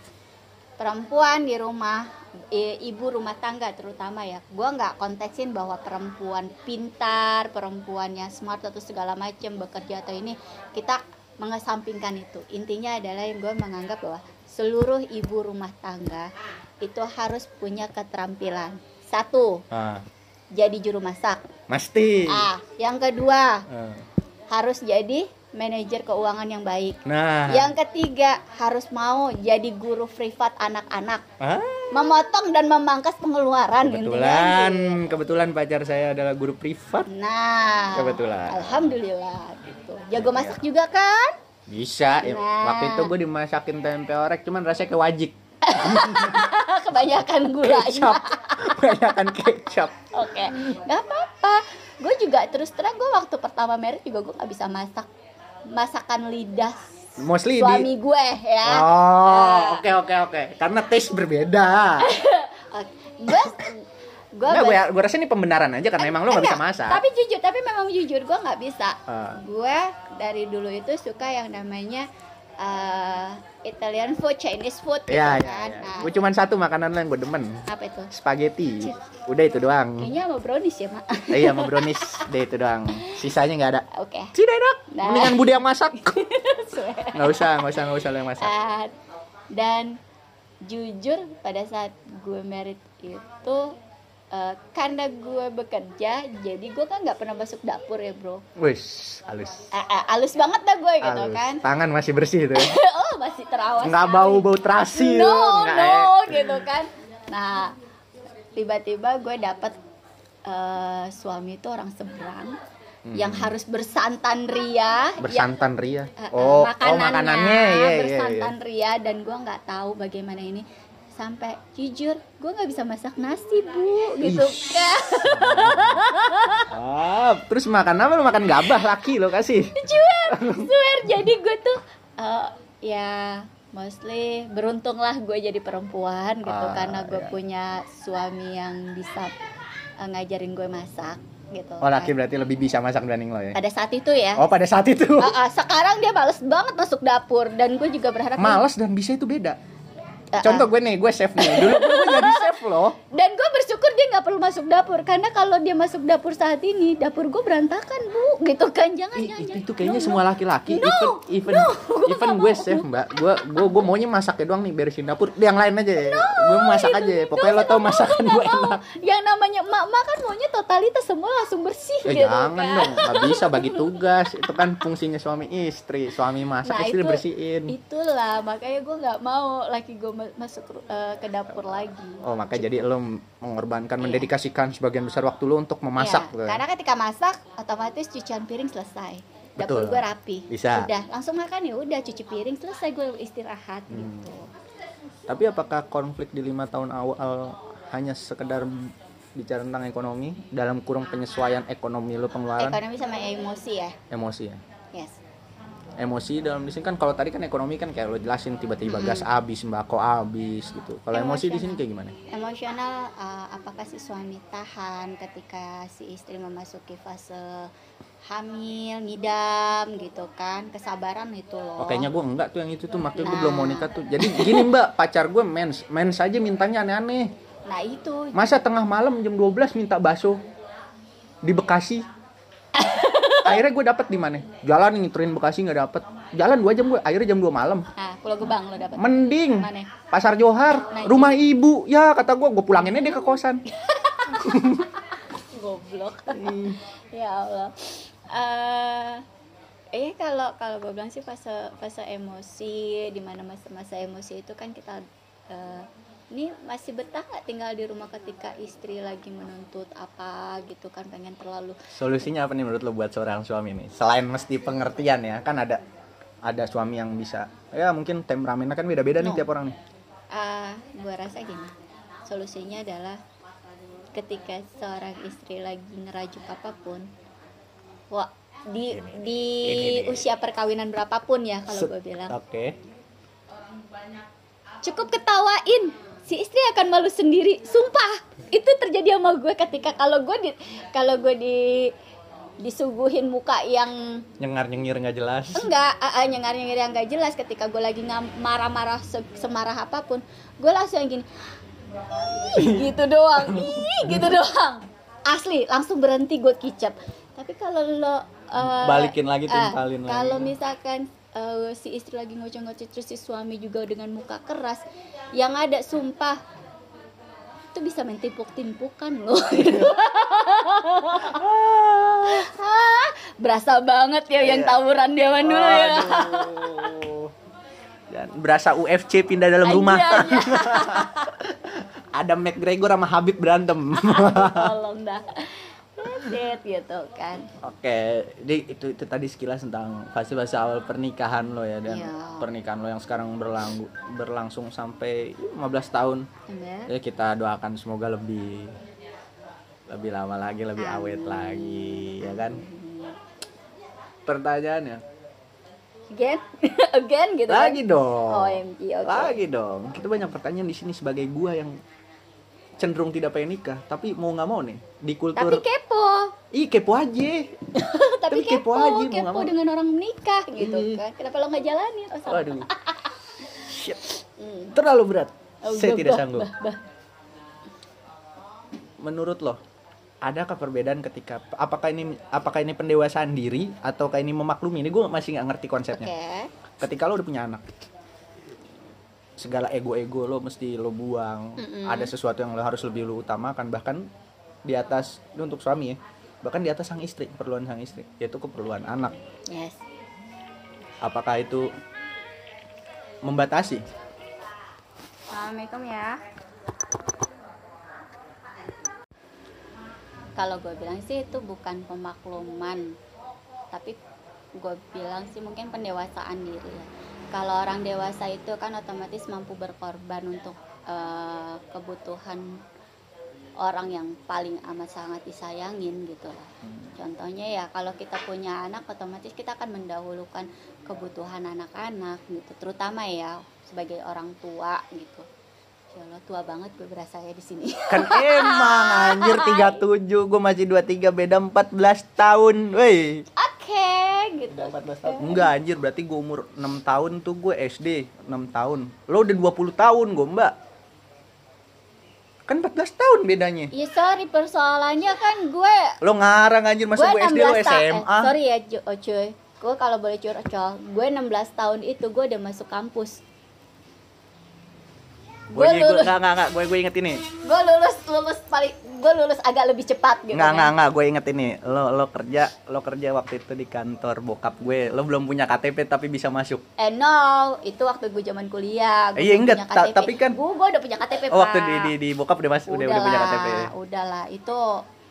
Perempuan di rumah, i- ibu rumah tangga terutama ya. Gua nggak konteksin bahwa perempuan pintar, perempuannya smart atau segala macam bekerja atau ini kita mengesampingkan itu. Intinya adalah yang gue menganggap bahwa seluruh ibu rumah tangga itu harus punya keterampilan. Satu, ah jadi juru masak. pasti Ah, yang kedua Ah. harus jadi manajer keuangan yang baik. nah Yang ketiga harus mau jadi guru privat anak-anak, Ah, memotong dan memangkas pengeluaran. kebetulan intinya gitu. kebetulan pacar saya adalah guru privat Nah, Kebetulan. Alhamdulillah gitu. Jago masak juga kan? bisa ya. Nah. waktu itu gue dimasakin tempe orek cuman rasanya kayak wajik Ah, Kebanyakan gulanya. kecap kebanyakan kecap Oke, nggak apa-apa. Gue juga terus terang gue waktu pertama married juga gue nggak bisa masak masakan lidah mostly di suami gue ya. oh Ah. oke oke oke karena taste berbeda Oke. Gue gue Nggak, gue gue rasa ini pembenaran aja karena emang lo nggak bisa Enggak, masak Tapi jujur, tapi memang jujur gue nggak bisa. Ah. Gue dari dulu itu suka yang namanya eh, Italian food, Chinese food gitu ya ya, ya. kan. Hmm. Nah, gue cuman satu makanan lo yang gue demen apa itu? spaghetti udah itu doang Kayaknya sama brownies ya, Mak. Eh, iya mau brownies deh itu doang sisanya nggak ada Oke. tidak enak Nah. mendingan bude yang masak Sesuai. nggak usah nggak usah nggak usah lo yang masak Eh, dan jujur pada saat gue merit itu eh, karena gue bekerja, jadi gue kan nggak pernah masuk dapur ya, Bro. wis halus Eh, eh, alus banget dah gue gitu Halus. kan. Tangan masih bersih itu. oh, masih terawas. Enggak sekali. bau bau terasi. no Nggak, no ya. gitu kan nah tiba-tiba gue dapet eh, suami itu orang seberang Hmm. yang harus bersantan ria yang- Bersantan ria. eh, eh, Oh, oh makanannya makanannya ya ya ya. bersantan ria dan gue nggak tahu bagaimana ini sampai jujur gue nggak bisa masak nasi bu gitu Ish. Ah, terus makan apa lu makan gabah laki lo kasih. swear jadi gue tuh eh, ya mostly beruntunglah gue jadi perempuan gitu Ah, karena gue iya. punya suami yang bisa eh, ngajarin gue masak gitu Oh, laki kan. berarti lebih bisa masak dibanding lo ya. pada saat itu ya Oh, pada saat itu. Ah, ah, sekarang dia males banget masuk dapur dan gue juga berharap Males dan bisa itu beda. Eh, eh. Contoh gue nih, gue chef nih. Dulu gue jadi chef loh. dan gue bersyukur dia nggak perlu masuk dapur karena kalau dia masuk dapur saat ini dapur gue berantakan bu gitu kan jangan Ih, jangan itu, jangan. Ya, itu kayaknya No, no. semua laki-laki No, even even even gue chef mbak gue gue gue maunya masaknya doang nih beresin dapur yang lain aja ya gue masak aja ya pokoknya lo tau masakan gue Nggak gitu. mau. enak yang namanya emak-emak kan maunya totalitas semua langsung bersih Eh, gitu jangan kan. dong, nggak bisa bagi tugas. Itu kan fungsinya suami istri. Suami masak, Nah, istri itu- bersihin. Itulah makanya gue nggak mau laki gue masuk ru- eh, ke dapur lagi. Oh, maka jadi lo mengorbankan, mendedikasikan sebagian besar waktu lo untuk memasak. gitu kan. Iya, tuh. ya? karena ketika masak otomatis cucian piring selesai. Dapur Betul. gue rapi. Bisa. Udah, langsung makan ya udah cuci piring selesai gue istirahat Hmm. gitu. Tapi apakah konflik di lima tahun awal hanya sekedar bicara tentang ekonomi dalam kurung penyesuaian ekonomi lo pengeluaran Ekonomi sama emosi ya. emosi ya? Yes. Emosi dalam di sini kan kalau tadi kan ekonomi kan kayak lo jelasin tiba-tiba gas habis, sembako habis gitu. Kalau emosi di sini kayak gimana? Emosional eh, apakah si suami tahan ketika si istri memasuki fase hamil, ngidam gitu kan. Kesabaran itu Oh, loh. kayaknya gue enggak tuh yang itu tuh makanya gue Nah. belum mau nikah tuh. Jadi gini mbak, pacar gue mens, mens aja mintanya aneh-aneh. Nah, itu Masa tengah malam jam 12 minta bakso di Bekasi. Akhirnya gue dapet di mana? Jalan ngiterin Bekasi nggak dapet. Jalan dua jam gue, akhirnya jam 2 malam. Nah, Pulau Gebang lo dapet. Mending Mana? pasar Johar, Nah, rumah ibu. Ya kata gue, gue pulanginnya dia ke kosan. Goblok. ya Allah. Eh eh kalau kalau gue bilang sih fase fase emosi di mana masa-masa emosi itu kan kita eh, ini masih betah nggak tinggal di rumah ketika istri lagi menuntut apa gitu kan pengen terlalu Solusinya apa nih menurut lo buat seorang suami nih? Selain mesti pengertian ya, kan ada ada suami yang bisa ya mungkin temperamennya kan beda-beda nih No. tiap orang nih. ah, gua rasa gini solusinya adalah ketika seorang istri lagi ngerajuk apapun wah di di Ini, ini. usia perkawinan berapapun ya kalau gue bilang Oke. cukup ketawain si istri akan malu sendiri sumpah itu terjadi sama gue ketika kalau gue di kalau gue di disuguhin muka yang Nyengar nyengir nggak jelas. enggak uh, nyengar nyengir yang gak jelas ketika gue lagi ngam- marah-marah se- semarah apapun gue langsung yang gini "Ih," gitu doang "Ih," gitu doang asli langsung berhenti gue kicap tapi kalau lo uh, Balikin lagi, ah, timpalin lagi. kalau misalkan uh, si istri lagi ngoceh-ngoceh terus si suami juga dengan muka keras yang ada sumpah itu bisa main timpuk-timpukan Gitu. loh Ah, berasa banget ya yang Iya. tawuran zaman dulu ya Aduh. Dan berasa UFC pindah dalam rumah. Iya, iya. Ada McGregor sama Habib berantem. Ya, tolong dah Reset gitu kan Oke, jadi itu, itu tadi sekilas tentang fase-fase awal pernikahan lo ya dan Iya. pernikahan lo yang sekarang berlanggu, berlangsung sampai 15 tahun. Bener. Ya kita doakan semoga lebih lebih lama lagi, lebih awet lagi, ya kan? Pertanyaannya, again again gitu kan? lagi dong. OMG, oke. Lagi dong. Kita banyak pertanyaan di sini sebagai gua yang cenderung tidak pengen nikah, tapi mau nggak mau nih di tapi kultur kepo Ih kepo aja Tapi tapi kepo kepo aja, mau kepo, nggak mau. dengan orang menikah gitu Iya. kan kenapa lo nggak jalanin oh, salah. Waduh. Shit. Hmm. Terlalu berat. Oh, Saya bah, tidak bah, sanggup. bah, bah. Menurut lo, adakah perbedaan ketika apakah ini apakah ini pendewasaan diri ataukah ini memaklumi? Ini gue masih nggak ngerti oke konsepnya. Ketika lo udah punya anak, segala ego-ego lo mesti lo buang. Mm-mm. Ada sesuatu yang lo harus lebih lo utamakan bahkan di atas ini untuk suami ya. Bahkan di atas sang istri, keperluan sang istri, yaitu keperluan anak. yes Apakah itu membatasi? assalamualaikum ya kalau gue bilang sih itu bukan pemakluman tapi gue bilang sih mungkin pendewasaan diri ya kalau orang dewasa itu kan otomatis mampu berkorban untuk eh, kebutuhan orang yang paling amat sangat disayangin gitu lah contohnya ya kalau kita punya anak otomatis kita akan mendahulukan kebutuhan anak-anak gitu terutama ya sebagai orang tua gitu ya Allah tua banget gue berasa ya di sini Kan emang anjir 37, gue masih 23 beda 14 tahun. Woi. oke gitu Enggak anjir, berarti gue umur 6 tahun tuh gue SD, 6 tahun. Lo udah 20 tahun gue, Mbak. Kan 14 tahun bedanya. Ya sorry persoalannya kan gue Lo ngarang anjir, masa gue gue SD lo 16 ta- eh, SMA. sorry ya Ju- oh, cuy. Gue kalau boleh curcol, gue 16 tahun itu gue udah masuk kampus. Gue Gue lulus, enggak enggak enggak, gue gue inget ini. gue lulus lulus paling gue lulus agak lebih cepat gitu. Enggak kan. enggak enggak, gue inget ini. Lo lo kerja, lo kerja waktu itu di kantor bokap gue. Lo belum punya KTP tapi bisa masuk. Eh no, itu waktu gue zaman kuliah. Iya, enggak, ta- tapi kan- gue gue udah punya KTP. Oh, waktu Pak. di di, di bokap udah mas, udah, udah punya Udahlah, KTP. Udahlah, itu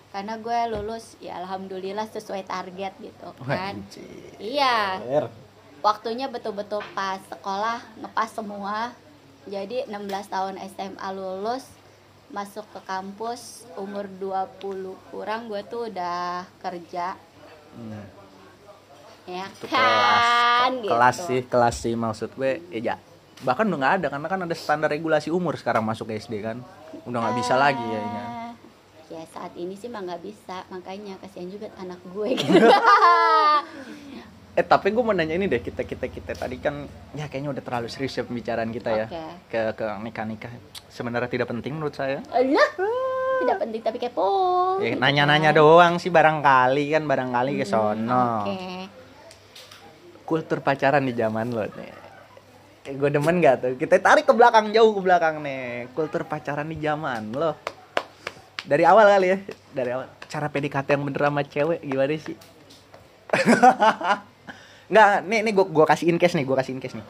karena gue lulus ya alhamdulillah sesuai target gitu kan. Anjir. Iya, waktunya betul-betul pas sekolah ngepas semua jadi 16 tahun SMA lulus masuk ke kampus umur 20 kurang gue tuh udah kerja Hmm. ya Itu kan kelas gitu. kelas sih kelas sih maksud gue ya ja- bahkan udah nggak ada karena kan ada standar regulasi umur sekarang masuk SD kan udah nggak bisa lagi ya ini. Ah, ya saat ini sih mah nggak bisa makanya kasihan juga anak gue gitu eh tapi gue mau nanya ini deh kita kita kita tadi kan ya kayaknya udah terlalu serius ya pembicaraan kita ya Oke. ke ke nikah nikah sebenarnya tidak penting menurut saya Alah, tidak penting tapi kepo ya, gitu nanya nanya kan. doang sih barangkali kan barangkali ke sono oke kultur pacaran di zaman lo nih gue demen gak tuh kita tarik ke belakang jauh ke belakang nih kultur pacaran di zaman lo dari awal kali ya dari awal cara PDKT yang bener sama cewek gimana sih Nggak, nih nih gua gua kasih in case nih, gua kasih in case nih.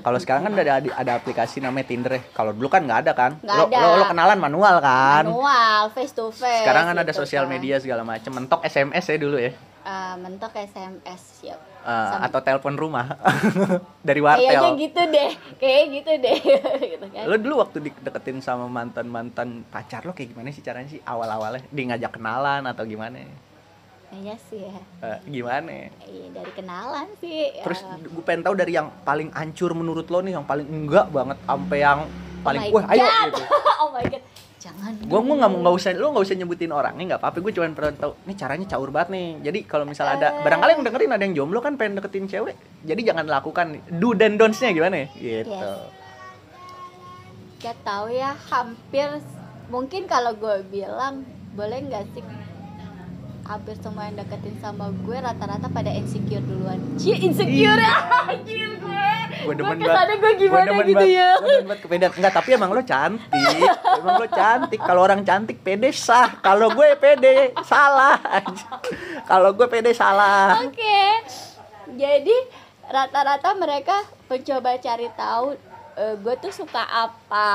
Kalau sekarang kan ada ada aplikasi namanya Tinder. ya. Kalau dulu kan nggak ada kan? Nggak lo, ada. lo lo kenalan manual kan? manual face to face Sekarang kan ada gitu sosial kan. media segala macem mentok SMS ya dulu ya. eh, mentok SMS siap. Eh, Sama- atau telepon rumah dari wartel. Kayaknya gitu deh, kayaknya gitu deh. gitu kan. Lo dulu waktu dideketin sama mantan-mantan pacar lo kayak gimana sih caranya sih awal-awalnya? Di ngajak kenalan atau gimana? Kayaknya sih ya. Eh, gimana? Iya dari kenalan sih. ya. Terus gue pengen tahu dari yang paling ancur menurut lo nih, yang paling enggak banget sampai yang paling Oh my wah ayo God." gitu. oh my god. Jangan. Gue dong. mau nggak mau nggak usah lo nggak usah nyebutin orangnya nggak apa-apa gue cuma pengen tahu nih caranya caur banget nih. Jadi kalau misalnya ada Eh. barangkali yang dengerin ada yang jomblo kan pengen deketin cewek, jadi jangan lakukan do dan don'ts-nya gimana ya? Gitu. Yes. Gak tahu ya hampir mungkin kalau gue bilang boleh nggak sih hampir semua yang deketin sama gue rata-rata pada insecure duluan. Cie insecure ya. Anjir gue. Gue demen Gue kesana banget. gue gimana demen gitu banget. ya. Gue demen banget kepedean. Enggak, tapi emang lo cantik. emang lo cantik. Kalau orang cantik pede sah. Kalau gue pede salah. Kalau gue pede salah. Oke. Jadi rata-rata mereka mencoba cari tahu eh, gue tuh suka apa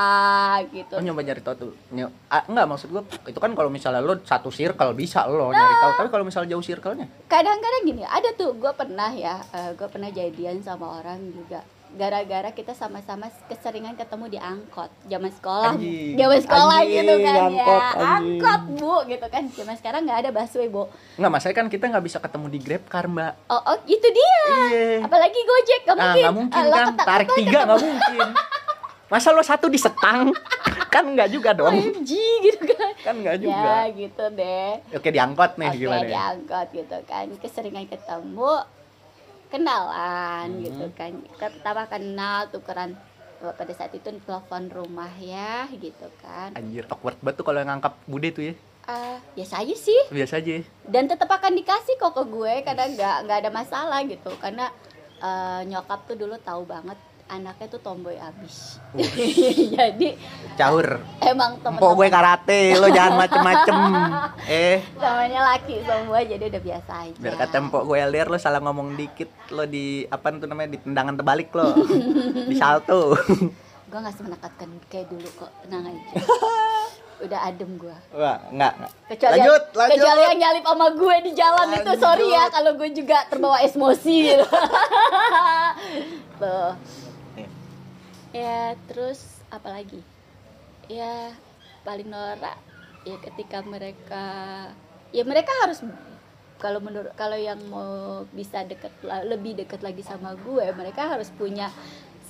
gitu. Oh nyoba nyari tahu tuh. Nyo- ah, enggak maksud gua itu kan kalau misalnya lo satu circle bisa lo nyari tahu. Tapi kalau misalnya jauh circle-nya Kadang-kadang gini, ada tuh gue pernah ya, gue pernah jadian sama orang juga gara-gara kita sama-sama keseringan ketemu di angkot zaman sekolah, Anjing. zaman sekolah Anjing, gitu kan angkot, ya, anjing. angkot bu gitu kan, zaman sekarang nggak ada busway bu. enggak masalahnya kan kita nggak bisa ketemu di Grab Car, Mbak. Oh, oh itu dia. Iya. Apalagi gojek, gak Ah, mungkin. nggak mungkin Ah, lo kan. ketak- Tarik lo tiga nggak mungkin. Masa lo satu di setang? kan enggak juga dong. OMG gitu kan. Kan enggak Ya juga. gitu deh. Oke diangkot nih Oke gimana? ya? diangkot gitu kan keseringan ketemu kenalan Mhm. gitu kan pertama kenal tukeran eh, pada saat itu telepon rumah ya gitu kan Anjir, awkward banget tuh kalau yang ngangkap bude tuh ya. Ah, biasa aja sih Biasa aja. ya. dan tetap akan dikasih kok ke gue karena nggak nggak ada masalah gitu karena eh, nyokap tuh dulu tahu banget anaknya tuh tomboy abis jadi Caur. emang Empok gue temen-temen karate, lo jangan macem-macem. Eh, namanya laki semua jadi udah biasa aja biar kata empok gue LDR lo salah ngomong dikit, lo di apa tuh namanya di tendangan terbalik lo. di salto. gue nggak semenakatkan kayak dulu kok tenang aja udah adem gue Wah, enggak. enggak. kecuali lanjut, yang, lanjut. kecuali yang nyalip sama gue di jalan itu sorry ya Lanjut. kalau gue juga terbawa emosi gitu tuh Iya. ya terus apalagi ya paling norak ya ketika mereka ya mereka harus kalau menurut kalau yang mau bisa deket la- lebih deket lagi sama gue mereka harus punya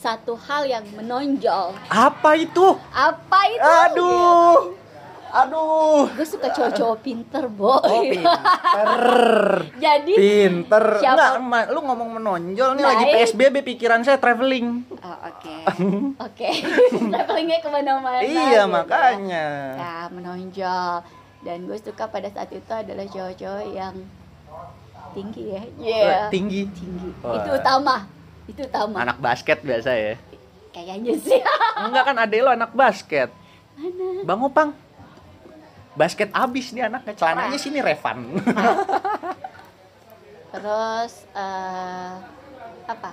satu hal yang menonjol Apa itu? apa itu Aduh. Aduh. gue suka cowok-cowok pinter bo Oh, pinter. jadi Pinter. Siapa- Enggak, Ma, lu ngomong menonjol nih lagi Baik. PSBB pikiran saya traveling. Oh, oke oke travelingnya kemana-mana iya, gitu. makanya. ya menonjol dan gue suka pada saat itu adalah cowok-cowok yang tinggi Eh, ya Iya. Wah, Tinggi. tinggi Wah. itu utama itu Oh, utama eh. Anak basket biasa ya. kayaknya sih Enggak kan ade lo anak basket. mana Bang Opang. Basket abis nih anaknya celananya sini Revan. terus eh, apa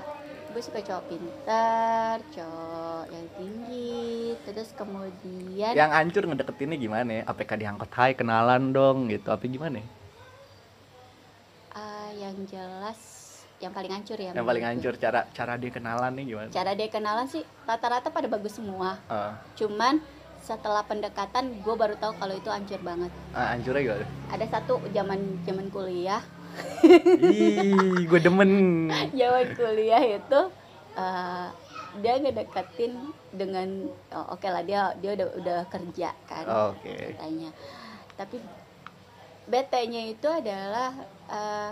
gue suka cowok pintar cowok yang tinggi terus kemudian Yang hancur ngedeketinnya gimana ya? APK diangkut hai kenalan dong gitu. Apa gimana? ya? Ah, yang jelas yang paling hancur ya Yang paling menurut gue. hancur cara cara dia kenalan nih gimana? cara dia kenalan sih rata-rata pada bagus semua Eh, cuman setelah pendekatan gue baru tahu kalau itu hancur banget eh, hancurnya gimana? ada satu zaman zaman kuliah Ih, gue demen. zaman kuliah itu eh, dia ngedeketin dengan oh, oke lah dia dia udah udah kerja kan Oke. katanya tapi bete-nya itu adalah eh,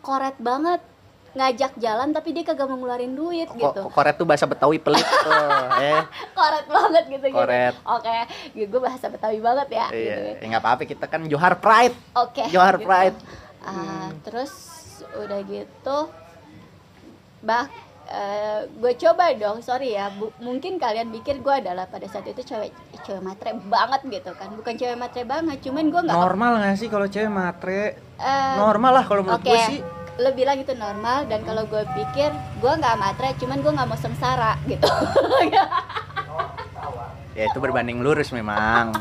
koret banget ngajak jalan tapi dia kagak mau ngeluarin duit Ko- gitu ko- koret tuh bahasa Betawi pelit tuh, eh. koret banget gitu gitu Koret. oke gue bahasa betawi banget ya gitu Iya, ya. ya, nggak apa-apa kita kan Johar Pride. oke Johar gitu. Pride. Ah, Hmm. terus udah gitu bah gue coba dong sorry ya bu- mungkin kalian pikir gue adalah pada saat itu cewek cewek matre banget gitu kan bukan cewek matre banget cuman gue nggak Normal nggak sih kalau cewek matre? eh, Normal lah kalau menurut Oke, gue sih. lo bilang itu normal dan kalau gue pikir gue nggak matre, cuman gue nggak mau sengsara gitu. Iya Ya itu berbanding lurus memang.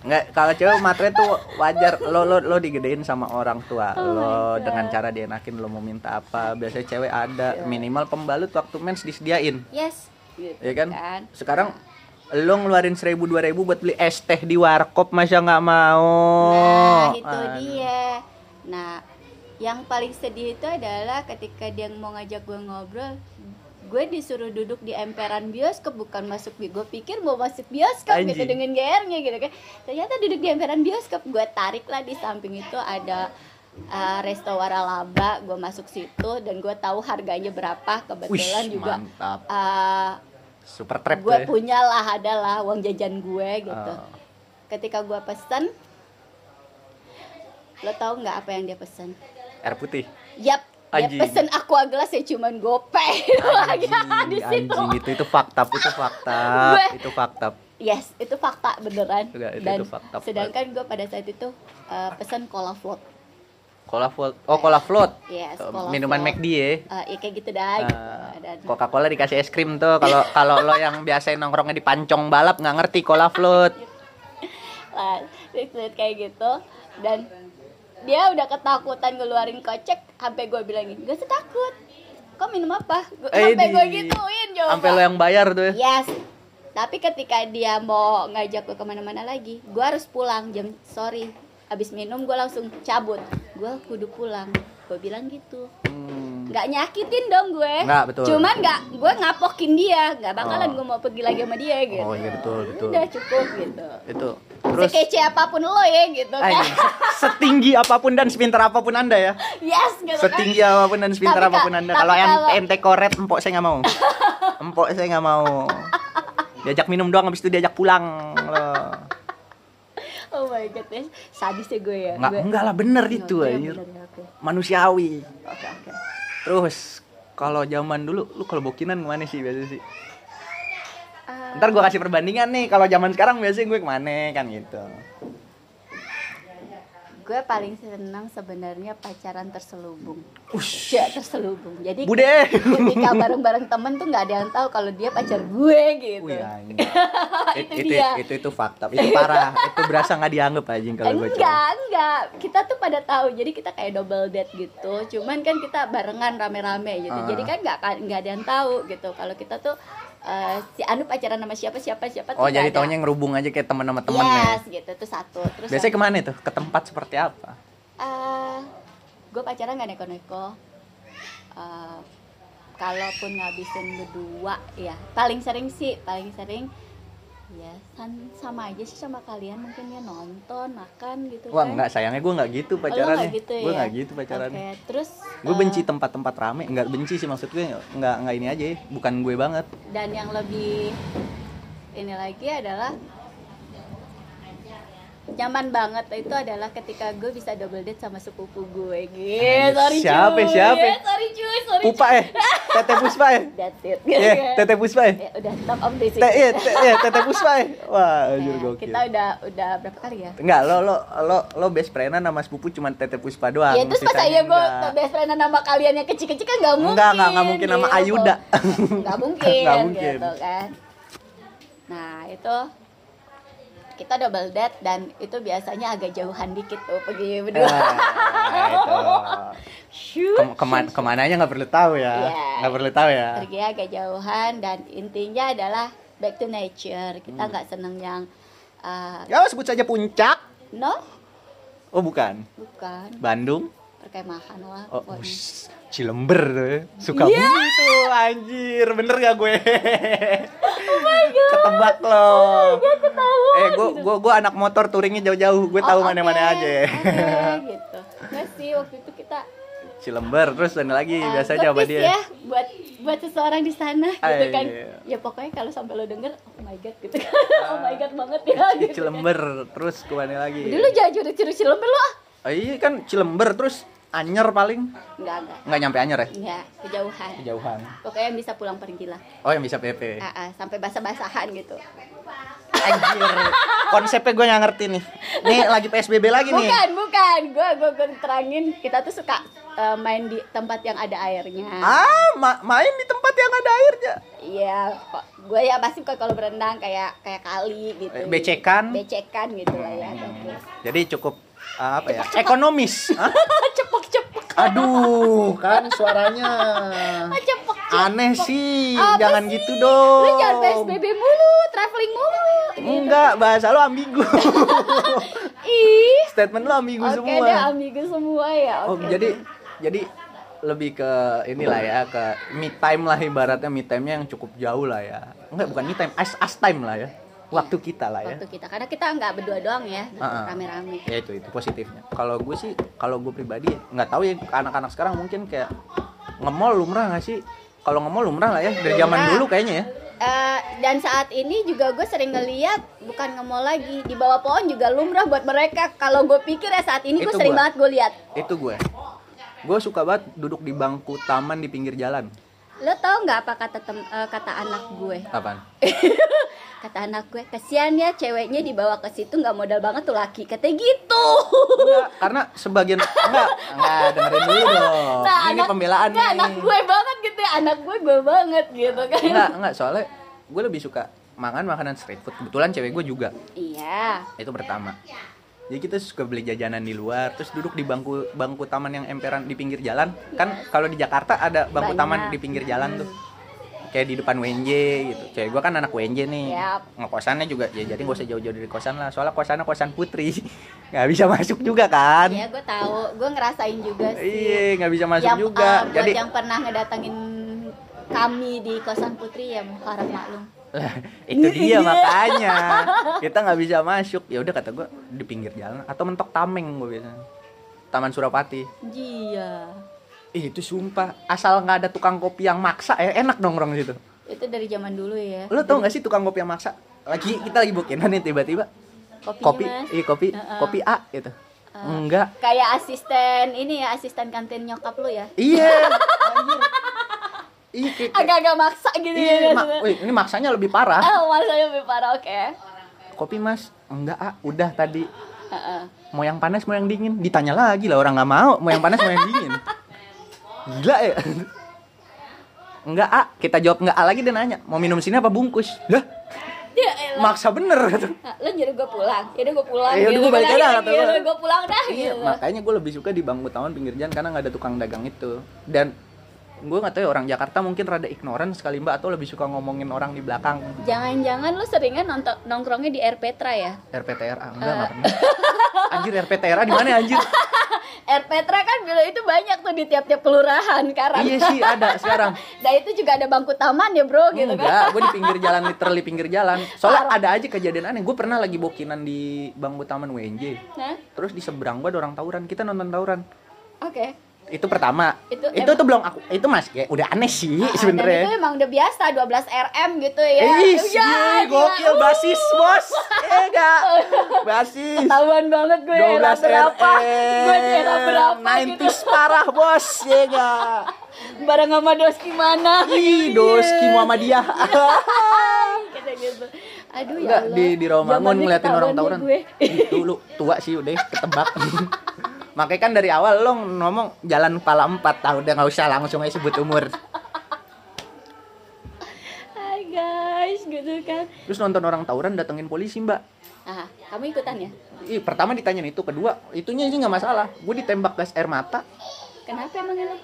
Nggak, kalau cewek matre tuh wajar lo lo lo digedein sama orang tua Oh lo my God. dengan cara dienakin lo mau minta apa biasanya cewek Iya. ada minimal pembalut waktu mens disediain Yes. Gitu ya kan sekarang lo ngeluarin seribu dua ribu buat beli es teh di warkop masa nggak mau Nah, itu Oh, Aduh. dia. Nah, yang paling sedih itu adalah ketika dia mau ngajak gue ngobrol, gue disuruh duduk di emperan bioskop bukan masuk bi- gue pikir mau masuk bioskop gitu Anjing. dengan GR-nya gitu kan ternyata duduk di emperan bioskop gue tarik lah di samping itu ada uh, resto waralaba gue masuk situ dan gue tahu harganya berapa Wih, kebetulan juga mantap uh, super trap gue tuh ya. punya lah adalah uang jajan gue gitu Oh. ketika gue pesen lo tau nggak apa yang dia pesen air putih yap dia Anjing. pesen aqua glass ya cuman gope lagi di anjing, situ anjing, itu itu fakta itu fakta Gue- itu fakta yes itu fakta beneran Enggak, Iya, itu- dan itu fakta. sedangkan gue pada saat itu eh, pesen cola float cola float oh cola float yes Eh, cola minuman float. McD ya Eh, ya kayak gitu dah gitu. Dan Eh, Coca-Cola dikasih es krim tuh kalau kalau lo yang biasa nongkrongnya di pancong balap nggak ngerti cola float lah tweet Nah, kayak gitu dan dia udah ketakutan ngeluarin kocek sampai gue bilangin gue takut kok minum apa Gua- Iya, sampai Eh, gue di- gituin Iya, gitu. coba sampai lo yang bayar tuh ya. yes tapi ketika dia mau ngajak gue kemana-mana lagi gue harus pulang jam sorry abis minum gue langsung cabut gue kudu pulang gue bilang gitu Hmm, nggak nyakitin dong gue Nggak, betul. cuman nggak gue ngapokin dia nggak bakalan Oh. gue mau pergi lagi sama dia gitu Oh, iya, betul, betul. udah cukup gitu itu terus sekece apapun lo ya gitu kan anjing, setinggi apapun dan sepintar apapun anda ya yes gitu kan setinggi apapun dan sepintar Tapi ka- apapun anda tapi kalau yang kalau- ente koret empok saya nggak mau empok saya nggak mau diajak minum doang habis itu diajak pulang lo oh my god ya sadisnya gue ya nggak gue. enggak lah bener itu Oke, anjir. bener ya, oke manusiawi oke oke terus kalau zaman dulu lu kalau bokinan kemana sih biasa sih Ah, ntar gua kasih perbandingan nih kalau zaman sekarang biasanya gue kemana kan gitu gue paling senang sebenarnya pacaran terselubung Ush. ya terselubung jadi Bude. ketika bareng bareng temen tuh nggak ada yang tahu kalau dia pacar gue gitu Wih, anjing. Itu itu, itu, dia. itu, itu fakta, itu parah, itu berasa nggak dianggap anjing kalau gue cowok. enggak enggak kita tuh pada tahu jadi kita kayak double date gitu cuman kan kita barengan rame-rame gitu Ah. jadi kan nggak nggak ada yang tahu gitu kalau kita tuh eh, si Anu pacaran sama siapa siapa siapa tuh Oh nggak jadi ada. taunya ngerubung aja kayak teman sama temen yes ya. gitu tuh satu terus Biasanya kemana tuh? Ke tempat seperti apa? gue pacaran gak neko-neko Eh, kalaupun ngabisin berdua ya paling sering sih paling sering ya san- sama aja sih sama kalian mungkin ya nonton makan gitu Wah kan enggak, sayangnya gue nggak gitu Oh, lu pacarannya. nggak gitu Gue ya? nggak gitu pacarannya. Oke, terus Gue eh, benci tempat-tempat rame, nggak benci sih maksud gue nggak nggak ini aja, ya. bukan gue banget. dan yang lebih ini lagi adalah nyaman banget itu adalah ketika gue bisa double date sama sepupu gue gitu. Sorry Eh, Siapa, cuy. siapa? Eh, Sorry cuy, sorry. Pupa eh, Tete Puspa eh, That's it. ya, Ya, Tete Puspa eh, udah stop om di sini. Te- iya, te- iya, Tete Puspa eh. Wah, anjir Nah, gokil. kita udah udah berapa kali ya? Enggak, lo lo lo lo best friendan sama sepupu cuman Tete Puspa doang. ya terus pas sisanya saya gue enggak. best friend nama kalian yang kecil-kecil kan nggak mungkin. Enggak, enggak, enggak mungkin sama gitu. Ayuda. Nggak mungkin, Nggak mungkin. gitu kan. Nah itu kita double date dan itu biasanya agak jauhan dikit tuh Eh, pergi berdua. Ah, itu. Shoo. Kem- keman- kemananya nggak perlu tahu ya, Iya. nggak perlu tahu ya. pergi agak jauhan dan intinya adalah back to nature. Kita Hmm. nggak seneng yang uh, Ya sebut saja puncak. no Oh bukan, bukan Bandung. perkemahan lah Oh, pokoknya. ush, Cilember tuh, ya. suka Iya. bumi tuh, anjir, bener gak gue? Oh Ketebak lo. Iya, eh, gue gue gue anak motor touringnya jauh-jauh, gue tahu gitu. Oh, mana-mana oke, aja. ya. oke, gitu. Nggak sih waktu itu kita Cilember, terus dan lagi eh, biasanya sama gepis dia. ya buat buat seseorang di sana gitu Ay, kan. iya. Ya pokoknya kalau sampai lo denger oh my god gitu kan. oh my god banget ya gitu. Cilember, terus ke mana lagi? Dulu jangan curi-curi cilember lo. ah. Oh, iya kan Cilember, terus Anyer paling Enggak, enggak. nggak nyampe Anyer ya? Enggak, kejauhan. Kejauhan. Pokoknya yang bisa pulang pergi lah. Oh yang bisa PP. Ah, ah, sampai basah-basahan gitu. Anjir. Konsepnya gue nggak ngerti nih. Nih lagi PSBB lagi nih. Bukan, bukan. Gua gua, gua terangin kita tuh suka eh, main di tempat yang ada airnya. Ah, ma- main di tempat yang ada airnya. Iya, kok gue ya pasti kok kalau berenang kayak kayak kali gitu. Eh, becekan. Hmm. Becekan gitu lah ya. Jadi cukup ah, apa ya? Ekonomis. Hah? Cepok-cepok. Aduh, kan suaranya Ah. Cepok. aneh sih. Apa jangan sih? gitu dong. Oh, Lu jangan PSBB mulu, traveling mulu. gitu. Enggak, bahasa lo ambigu. Ih. Statement lo ambigu Oke semua. deh, ambigu semua ya. Oh, Oke. jadi jadi lebih ke inilah ya ke me time lah ibaratnya me time-nya yang cukup jauh lah ya. Enggak, bukan me time, as, as time lah ya. Waktu kita lah ya. waktu kita karena kita nggak berdua doang ya, gitu, Ah, ah. rame-rame. Ya itu itu positifnya. Kalau gue sih, kalau gue pribadi nggak tahu ya anak-anak sekarang mungkin kayak nge-mall lumrah nggak sih? Kalau nge-mall lumrah lah ya dari zaman Lumrah. dulu kayaknya ya. Eh, dan saat ini juga gue sering ngeliat bukan nge-mall lagi di bawah pohon juga lumrah buat mereka kalau gue pikir ya saat ini gue Itu sering gua. banget gue lihat Itu gue. Gue suka banget duduk di bangku taman di pinggir jalan. lo tau nggak apa kata tem- eh, kata anak gue Apaan? kata anak gue kasihan ya ceweknya dibawa ke situ nggak modal banget tuh laki katanya gitu Enggak, karena sebagian enggak, enggak dengerin dulu dong. Ini pembelaan nggak, nih. anak gue banget gitu ya anak gue gue banget gitu kan Enggak, enggak, soalnya gue lebih suka makan makanan street food. Kebetulan cewek gue juga. iya Itu pertama. Jadi kita suka beli jajanan di luar, terus duduk di bangku bangku taman yang emperan di pinggir jalan. Kan kalau di Jakarta ada bangku Banyak. taman di pinggir jalan tuh. Kayak di depan WNJ gitu. Cewek gue kan anak WNJ nih. Yap. Ngekosannya juga ya jadi gak usah jauh-jauh dari kosan lah. Soalnya kosannya kosan putri. nggak bisa masuk juga kan. iya gue tahu gue ngerasain juga sih Iya, nggak bisa masuk yang, juga. eh, buat Jadi yang pernah ngedatengin kami di kosan putri ya harap maklum Lah, itu dia makanya kita nggak bisa masuk. Ya udah kata gue di pinggir jalan atau mentok tameng gue biasanya. Taman Surapati. iya Ih, itu sumpah asal nggak ada tukang kopi yang maksa ya enak nongkrong di situ. itu dari zaman dulu ya Lo tau nggak sih tukang kopi yang maksa? Lagi kita lagi bokinan nih tiba-tiba kopinya kopi, mas iya kopi, Heeh. kopi A gitu. Enggak. kayak asisten ini ya asisten kantin nyokap lu ya Iya. anjir. Ih, kayak- agak-agak maksa gitu Ih, ya ma- wih, ini maksanya lebih parah. ah maksudnya lebih parah oke Kopi mas, enggak ah, udah tadi Heeh. mau yang panas mau yang dingin ditanya lagi lah orang nggak mau mau yang panas mau yang dingin gila ya enggak ah kita jawab enggak ah lagi dia nanya mau minum sini apa bungkus lah Ya elah. maksa bener gitu Ah, lu nyuruh gue pulang ya udah gue pulang Ya udah, gua balik aja, kata gua. gue pulang dah iya gitu. makanya gue lebih suka di bangku taman pinggir jalan karena nggak ada tukang dagang itu dan gue nggak tahu ya orang Jakarta mungkin rada ignoran sekali mbak atau lebih suka ngomongin orang di belakang jangan-jangan lu seringan nonton nongkrongnya di RPTRA ya RPTRA enggak nggak pernah Eh. anjir RPTRA di mana anjir RPTRA kan dulu itu banyak tuh di tiap-tiap kelurahan sekarang iya sih ada sekarang Nah itu juga ada bangku taman ya bro gitu kan. Enggak, gue di pinggir jalan, literally pinggir jalan. Soalnya ada aja kejadian aneh. Gue pernah lagi bokinan di bangku taman WNJ. Hah? Terus di seberang gue ada orang tawuran. Kita nonton tawuran. Oke. Itu pertama. Itu Itu itu, tuh belum aku. Itu mas, ya udah aneh sih Ah, Dan itu sebenernya. emang udah biasa 12 RM gitu ya. Eh, ih, Ya, sih, gila. gokil basis bos. Eh, enggak. Basis. Ketahuan banget gue era 12 berapa. Gue di era berapa gitu. 90s parah bos, ya enggak. Bareng sama Doski mana. Ih, doski Muhammadiyah. Kata gitu. Aduh ya Enggak Allah. di di Romangun Zamannya ngeliatin orang ketahuan tawuran. ya gue. Itu lu tua sih udah ketebak. Makanya kan dari awal lo ngomong jalan kepala empat tahu udah nggak usah langsung aja sebut umur. Hai guys gitu kan. Terus nonton orang tawuran datengin polisi mbak. Ah, kamu ikutan ya? Ih, pertama ditanyain itu, kedua itunya sih nggak masalah. Gue ditembak gas air mata. Kenapa emang ini?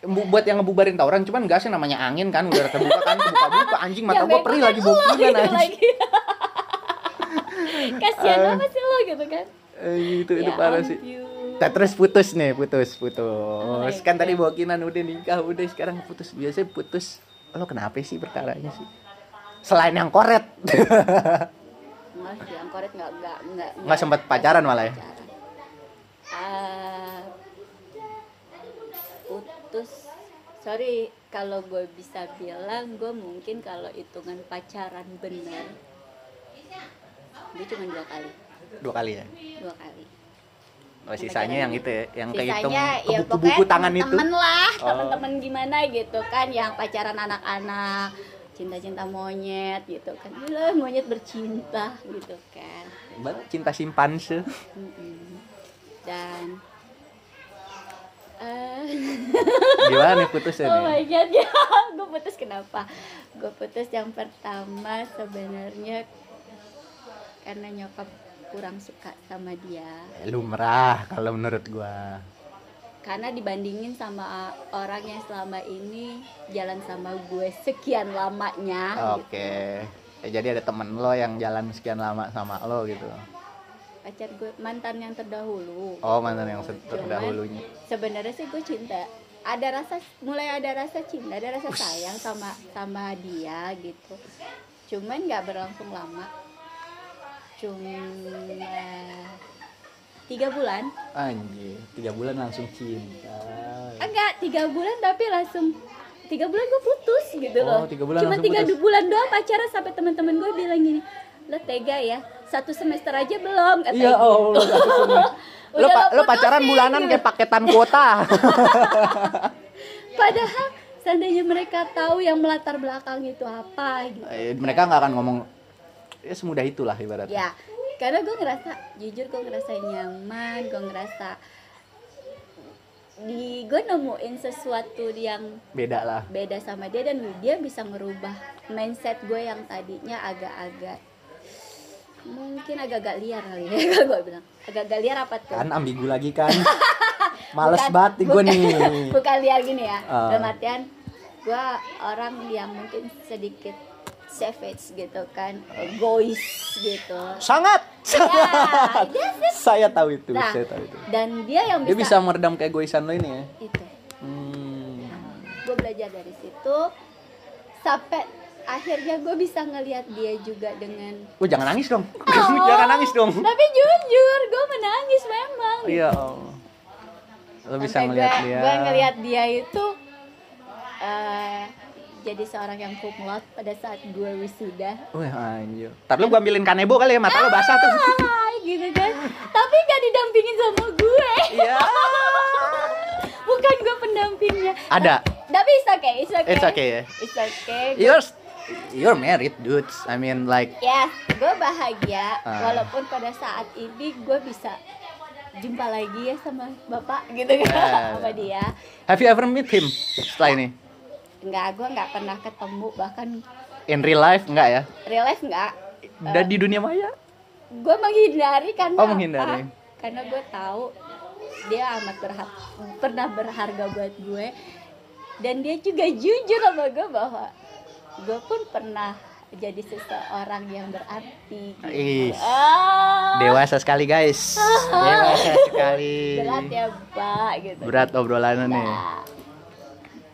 Bu- buat yang ngebubarin tawuran cuman gasnya namanya angin kan udah terbuka kan terbuka-buka anjing mata Yang gue perih bego lagi kan lo bokinan gitu anjing lagi. Kasihan apa sih lo gitu kan? Eh, itu itu Ya parah sih ampun. Oh, iya. Nah, terus putus nih, putus, putus. Oke. Kan tadi bokinan udah nikah, udah sekarang putus. Biasanya putus. Lo kenapa sih perkaranya sih? Selain yang koret. Enggak sih, angkoret enggak enggak enggak Nggak sempet pacaran malah ya? pacaran. Ah, putus. Sorry kalau gue bisa bilang gue mungkin kalau hitungan pacaran bener gue cuma dua kali Dua kali ya. dua kali Oh, sisanya yang itu ya, yang kehitung sisanya ya buku pokoknya tangan itu. temen lah Oh. temen-temen gimana gitu kan yang pacaran anak-anak cinta-cinta monyet gitu kan lah monyet bercinta gitu kan Banget cinta simpanse. Mm-mm. dan eh Gimana nih putusnya oh my nih? god ya gue putus kenapa gue putus yang pertama sebenarnya karena nyokap kurang suka sama dia Eh, Lumrah kalau menurut gua. karena dibandingin sama uh, orang yang selama ini jalan sama gue sekian lamanya gitu. Oke. Eh, jadi ada temen lo yang jalan sekian lama sama lo gitu. pacar gue mantan yang terdahulu Oh, mantan yang se- Cuman, terdahulunya. sebenarnya sih gue cinta ada rasa mulai ada rasa cinta ada rasa sayang sama sama dia gitu cuman nggak berlangsung lama cuma tiga bulan Anjir, tiga bulan langsung cinta. enggak tiga bulan tapi langsung tiga bulan gue putus gitu Oh, loh tiga bulan cuma langsung tiga putus. bulan doang pacaran sampai teman-teman gue bilang gini lo tega ya satu semester aja belum kata Iya, Allah. satu semua. Lo, Udah pa- lo lo pacaran putusin, bulanan gitu. kayak paketan kuota. Padahal seandainya mereka tahu yang melatar belakang itu apa gitu. Eh, Mereka nggak akan ngomong ya semudah itulah ibaratnya. Ya, karena gue ngerasa jujur gue ngerasa nyaman, gue ngerasa di gue nemuin sesuatu yang Beda lah. beda sama dia dan dia bisa ngerubah mindset gue yang tadinya agak-agak mungkin agak-agak liar kali ya gue bilang agak-agak liar apa tuh Kan ambigu lagi kan. Males Bukan- banget gue bukan- nih. bukan liar gini ya Ah. dalam artian gue orang yang mungkin sedikit savage gitu kan egois gitu Sangat. Ya, yes. saya tahu itu, Nah, saya tahu itu. dan dia yang Dia bisa bisa, meredam keegoisan lo ini ya. itu Hmm. gue belajar dari situ sampai akhirnya gue bisa ngelihat dia juga dengan Wah, jangan nangis dong. Oh, jangan nangis dong. tapi jujur gue menangis memang Iya. Allah. Lo bisa gitu. Sampai ngeliat gue, dia. gue ngeliat dia itu eh, jadi seorang yang kumlot pada saat gue wisuda Wih, anjir. Ntar lu gua ambilin kanebo kali ya, mata lo basah tuh. Hai, gitu kan tapi gak didampingin sama gue Iya. bukan gue pendampingnya Ada. tapi it's okay it's okay It's okay ya. It's okay. Gue- You're you're married, dudes. I mean like yes gue Ya, bahagia Ah. walaupun pada saat ini gue bisa jumpa lagi ya sama bapak gitu kan Ya. sama dia have you ever met him setelah ini? nggak gue nggak pernah ketemu bahkan In real life enggak ya? real life nggak Dan di dunia maya? gue menghindari karena Oh, menghindari. apa? karena gue tahu dia amat berhak pernah berharga buat gue dan dia juga jujur sama gue bahwa gue pun pernah jadi seseorang yang berarti gitu. Ih, Ah, dewasa sekali guys. Dewasa sekali. berat ya pak gitu Iya. Berat obrolannya nih. Nah,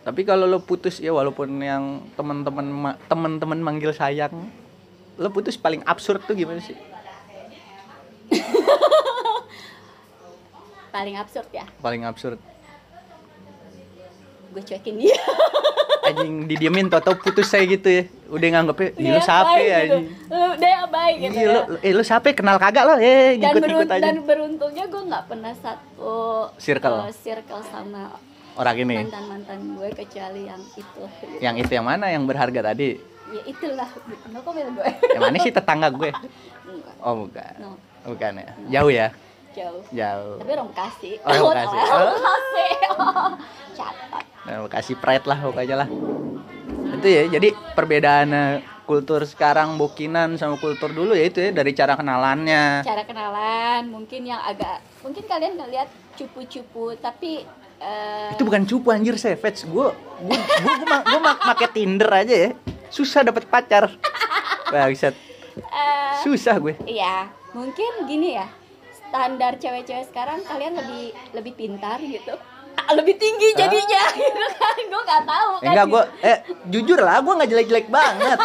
Tapi kalau lo putus ya walaupun yang teman-teman ma- teman-teman manggil sayang, lo putus paling absurd tuh gimana sih? paling absurd ya Paling absurd. gue cuekin dia Anjing didiemin toto putus saya gitu ya. Udah nganggepnya, "Ih, Dia lo siapa baik ya gitu. anjing?" Lu- dia baik gitu Iya ya. lo, eh lo siapa ya? kenal kagak lo? Eh dan, ngikut-ngikut berun- aja. dan beruntungnya gue nggak pernah satu Circle. eh, circle sama Orang ini. mantan mantan gue kecuali yang itu Yang itu yang mana yang berharga tadi? ya itulah no comment gue Yang mana sih tetangga gue? Enggak, Oh bukan. no Bukan ya. Jauh ya? jauh Jauh. tapi orang kasih Oh, orang Bekasi. orang kasih catat Nah, kasih pride lah pokoknya lah. Itu ya. Jadi perbedaan eh, kultur sekarang bokinan sama kultur dulu ya itu ya dari cara kenalannya. cara kenalan mungkin yang agak mungkin kalian ngeliat cupu-cupu tapi eh, Itu bukan cupu anjir savage. Gue gue gue gue pakai Tinder aja ya. Susah dapet pacar. Bangsat. eh, Susah gue. Iya, mungkin gini ya. Standar cewek-cewek sekarang kalian lebih lebih pintar gitu. Ah, Lebih tinggi jadinya gitu kan. Gue nggak tahu Eh, kan. Enggak gitu. gue eh jujur lah gue nggak jelek-jelek banget.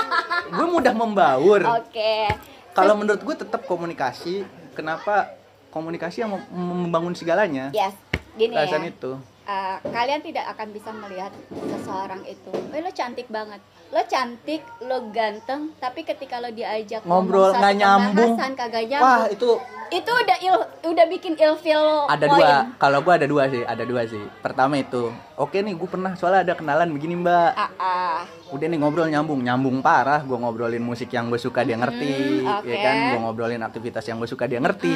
gue mudah membaur. Oke. Kalau menurut gue tetap komunikasi. Kenapa komunikasi yang mem- membangun segalanya? Yes, gini Perasaan ya. itu. Eh, kalian tidak akan bisa melihat seseorang itu. Eh, lo cantik banget. Lo cantik, lo ganteng, tapi ketika lo diajak Ngobrol ngomong satu nggak nyambung. pembahasan kagak Wah nyambung. Oh, itu itu udah il udah bikin ilfeel ada poin. dua kalau gua ada dua sih ada dua sih pertama itu oke nih gue pernah soalnya ada kenalan begini mbak Ah, ah. udah nih ngobrol nyambung nyambung parah gua ngobrolin musik yang gue suka dia ngerti Mm, ya kan oke. gue ngobrolin aktivitas yang gue suka dia ngerti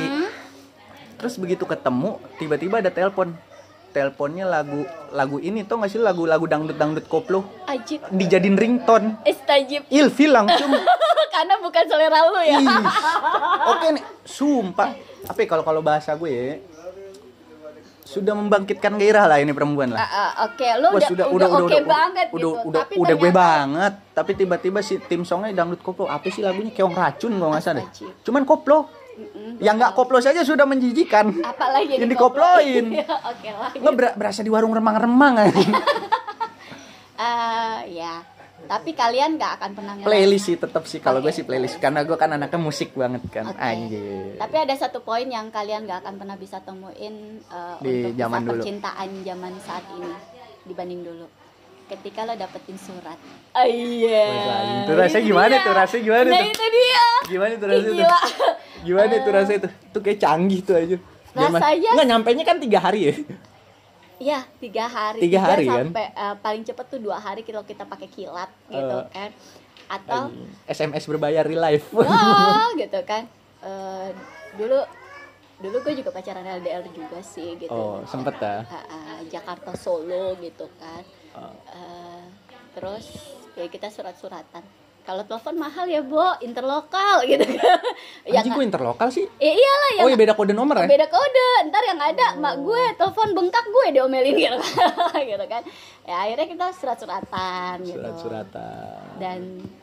terus begitu ketemu tiba-tiba ada telepon teleponnya lagu lagu ini tuh nggak sih lagu lagu dangdut dangdut koplo ajib dijadiin ringtone istajib ilfil langsung karena bukan selera lu ya Ih, Oke nih, sumpah. Tapi kalau kalau bahasa gue ya, sudah membangkitkan gairah lah ini perempuan lah. Ah, ah, oke lu Wah, udah udah, oke banget udah, gitu udah, tapi udah gue ternyata- banget. Tapi tiba-tiba si tim songnya dangdut koplo. Apa sih lagunya? Keong racun kalau nggak salah. deh. Astagfirullah. Cuman koplo. Yang nggak koplo saja sudah menjijikan. apalagi Yang dikoploin. Ya, oke lah Nggak ber- berasa di warung remang-remang. anjing. Eh, ya tapi kalian nggak akan pernah ngerasa. playlist sih tetap sih kalau gue Oke. sih playlist karena gue kan anaknya musik banget kan Oke. anjir. Tapi ada satu poin yang kalian nggak akan pernah bisa temuin uh, Di untuk zaman kisah dulu. percintaan zaman saat ini dibanding dulu. Ketika lo dapetin surat. Ah, iya. Wes, anjing. Tuh rasanya Itu gimana dia. tuh? Rasanya gimana Nah, tuh? itu dia. Gimana tuh rasanya tuh? Gila. Eh. Gimana tuh rasanya tuh? Tuh kayak canggih tuh aja. Zaman- Rasanya- Nggak nyampe nya kan tiga hari ya. Ya, tiga hari. Tiga hari, kan? sampai, uh, paling cepet tuh dua hari kalau kita pakai kilat gitu Eh. kan. Atau Anjing. SMS berbayar real life. Wah, gitu kan. Eh, dulu dulu gue juga pacaran LDR juga sih gitu. Oh, sempet ya. Ah, ah, Jakarta Solo gitu kan. Oh. Eh, terus ya kita surat-suratan. Kalau telepon mahal ya, Bo, interlokal gitu kan. ya, Anjing nggak- gue interlokal sih. ya iyalah ya. Oh ya beda kode nomor ya? beda kode ntar yang ada mak gue telepon bengkak gue diomelin gitu kan, gitu kan ya akhirnya kita surat-suratan gitu Surat-suratan. dan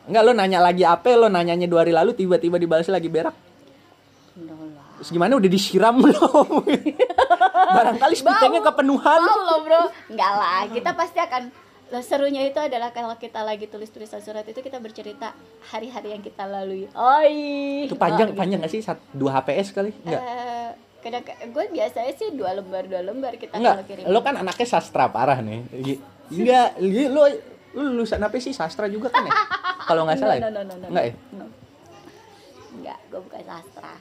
Enggak lo nanya lagi apa lo nanyanya dua hari lalu tiba-tiba dibalas lagi berak. Alhamdulillah. Terus gimana udah disiram belum? Barangkali speakernya kepenuhan. Wow loh bro Enggak lah Kita pasti akan Loh, serunya itu adalah kalau kita lagi tulis tulisan surat itu kita bercerita hari-hari yang kita lalui. Oi. Itu panjang Oh, panjang gak sih? Sat- Dua HPS kali? gitu. Enggak. Eh, kadang gue biasanya sih dua lembar dua lembar kita Enggak, kalau eh, kirim. lo kan anaknya sastra parah nih. Gi- Enggak, li- lo lo lulusan apa sih sastra juga kan ya? Kalau nggak salah. ya? No, no, no, no, no. Enggak ya? No. Enggak, gue bukan sastra.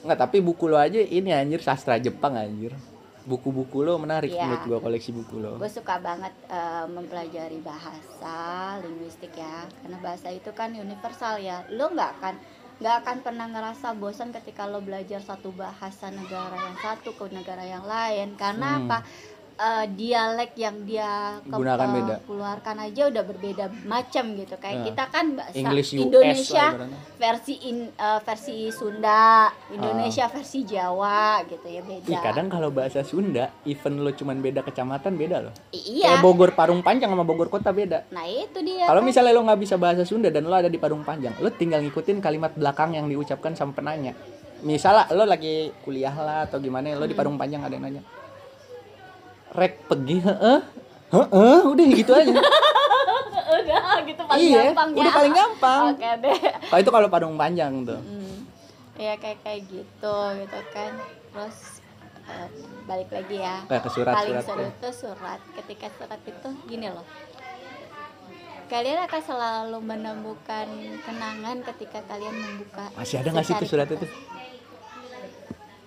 Enggak, tapi buku lo aja ini anjir sastra Jepang anjir. Buku-buku lo menarik Iya. menurut gua koleksi buku lo. Gue suka banget eh, mempelajari bahasa linguistik ya, karena bahasa itu kan universal ya. Lo nggak akan nggak akan pernah ngerasa bosan ketika lo belajar satu bahasa negara yang satu ke negara yang lain. Karena Hmm. apa? Eh, dialek yang dia ke- Gunakan eh, beda. keluarkan aja udah berbeda macam gitu. Kayak Nah, kita kan bahasa English US Indonesia lah ibaratnya. versi in- eh, versi Ah. Sunda, Indonesia versi Jawa gitu ya beda. Ih, kadang kalau bahasa Sunda, even lo cuman beda kecamatan beda lo. iya. Kayak Bogor Parung Panjang sama Bogor Kota beda. Nah, itu dia. Kalau kan. misalnya lo nggak bisa bahasa Sunda dan lo ada di Parung Panjang, lo tinggal ngikutin kalimat belakang yang diucapkan sama penanya. Misalnya lo lagi kuliah lah atau gimana, lo Hmm. di Parung Panjang ada yang nanya, rek pergi heeh, heeh, udah gitu aja. udah gitu paling Iya, gampang ya. udah paling gampang. Oke deh. Kalau itu kalau Parung Panjang tuh. Hmm. Ya kayak kayak gitu gitu kan. Terus eh, balik lagi ya. Kayak ke Eh, surat paling surat. ya. seru itu surat. Ketika surat itu gini loh. Kalian akan selalu menemukan kenangan ketika kalian membuka. Masih ada nggak sih tuh secari surat itu? kertas.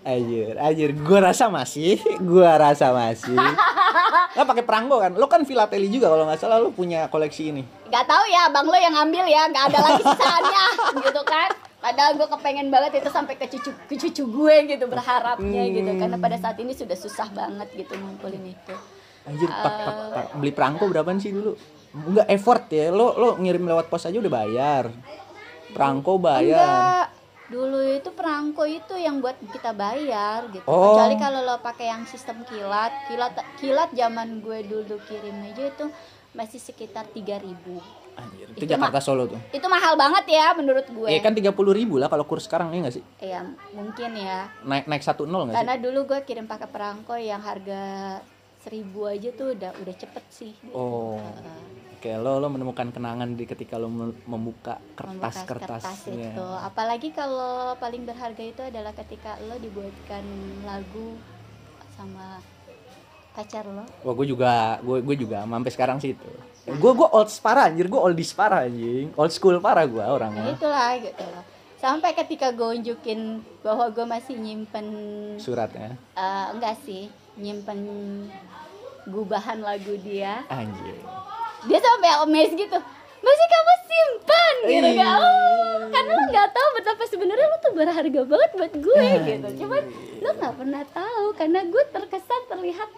Anjir, anjir, gua rasa masih, gua rasa masih. Nggak pakai peranggo kan? Lo kan filateli juga kalau nggak salah lo punya koleksi ini. Gak tahu ya, bang lo yang ngambil ya, gak ada lagi sisaannya, gitu kan? Padahal gue kepengen banget itu sampai ke cucu ke cucu gue gitu berharapnya Hmm. gitu, karena pada saat ini sudah susah banget gitu ngumpulin itu. Anjir, pak, pak, Eh. pak. beli perangko berapaan sih dulu? Enggak effort ya, lo lo ngirim lewat pos aja udah bayar. Perangko bayar. Enggak, dulu itu perangko itu yang buat kita bayar gitu. Oh. Kecuali kalau lo pakai yang sistem kilat, kilat kilat zaman gue dulu kirim aja itu masih sekitar 3000 Anjir, itu, Itu Jakarta Solo tuh. Itu mahal banget ya menurut gue. Iya kan 30 ribu lah kalau kurs sekarang ya nggak sih? Ya, mungkin ya. Naik naik 1-0 nggak sih? Karena dulu gue kirim pakai perangko yang harga seribu aja tuh udah udah cepet sih. Oh. Oke, lo lo menemukan kenangan di ketika lo mem- membuka Ya. Membekas kertas-kertasnya. itu. Apalagi kalau paling berharga itu adalah ketika lo dibuatkan lagu sama pacar lo. Wah, gue juga, gue gue juga mampir sekarang sih itu. Gue gue old parah anjir, gue oldies parah anjing. Old school parah gue Nah, orangnya. itulah gitu loh. sampai ketika gue unjukin bahwa gue masih nyimpen Suratnya. eh, enggak sih nyimpen gubahan lagu dia Anjir. dia sampai amazed gitu masih kamu simpan gitu Ih. kan "Oh, karena lo nggak tahu betapa sebenarnya lo tuh berharga banget buat gue Iya. gitu cuman lo nggak pernah tahu karena gue terkesan terlihat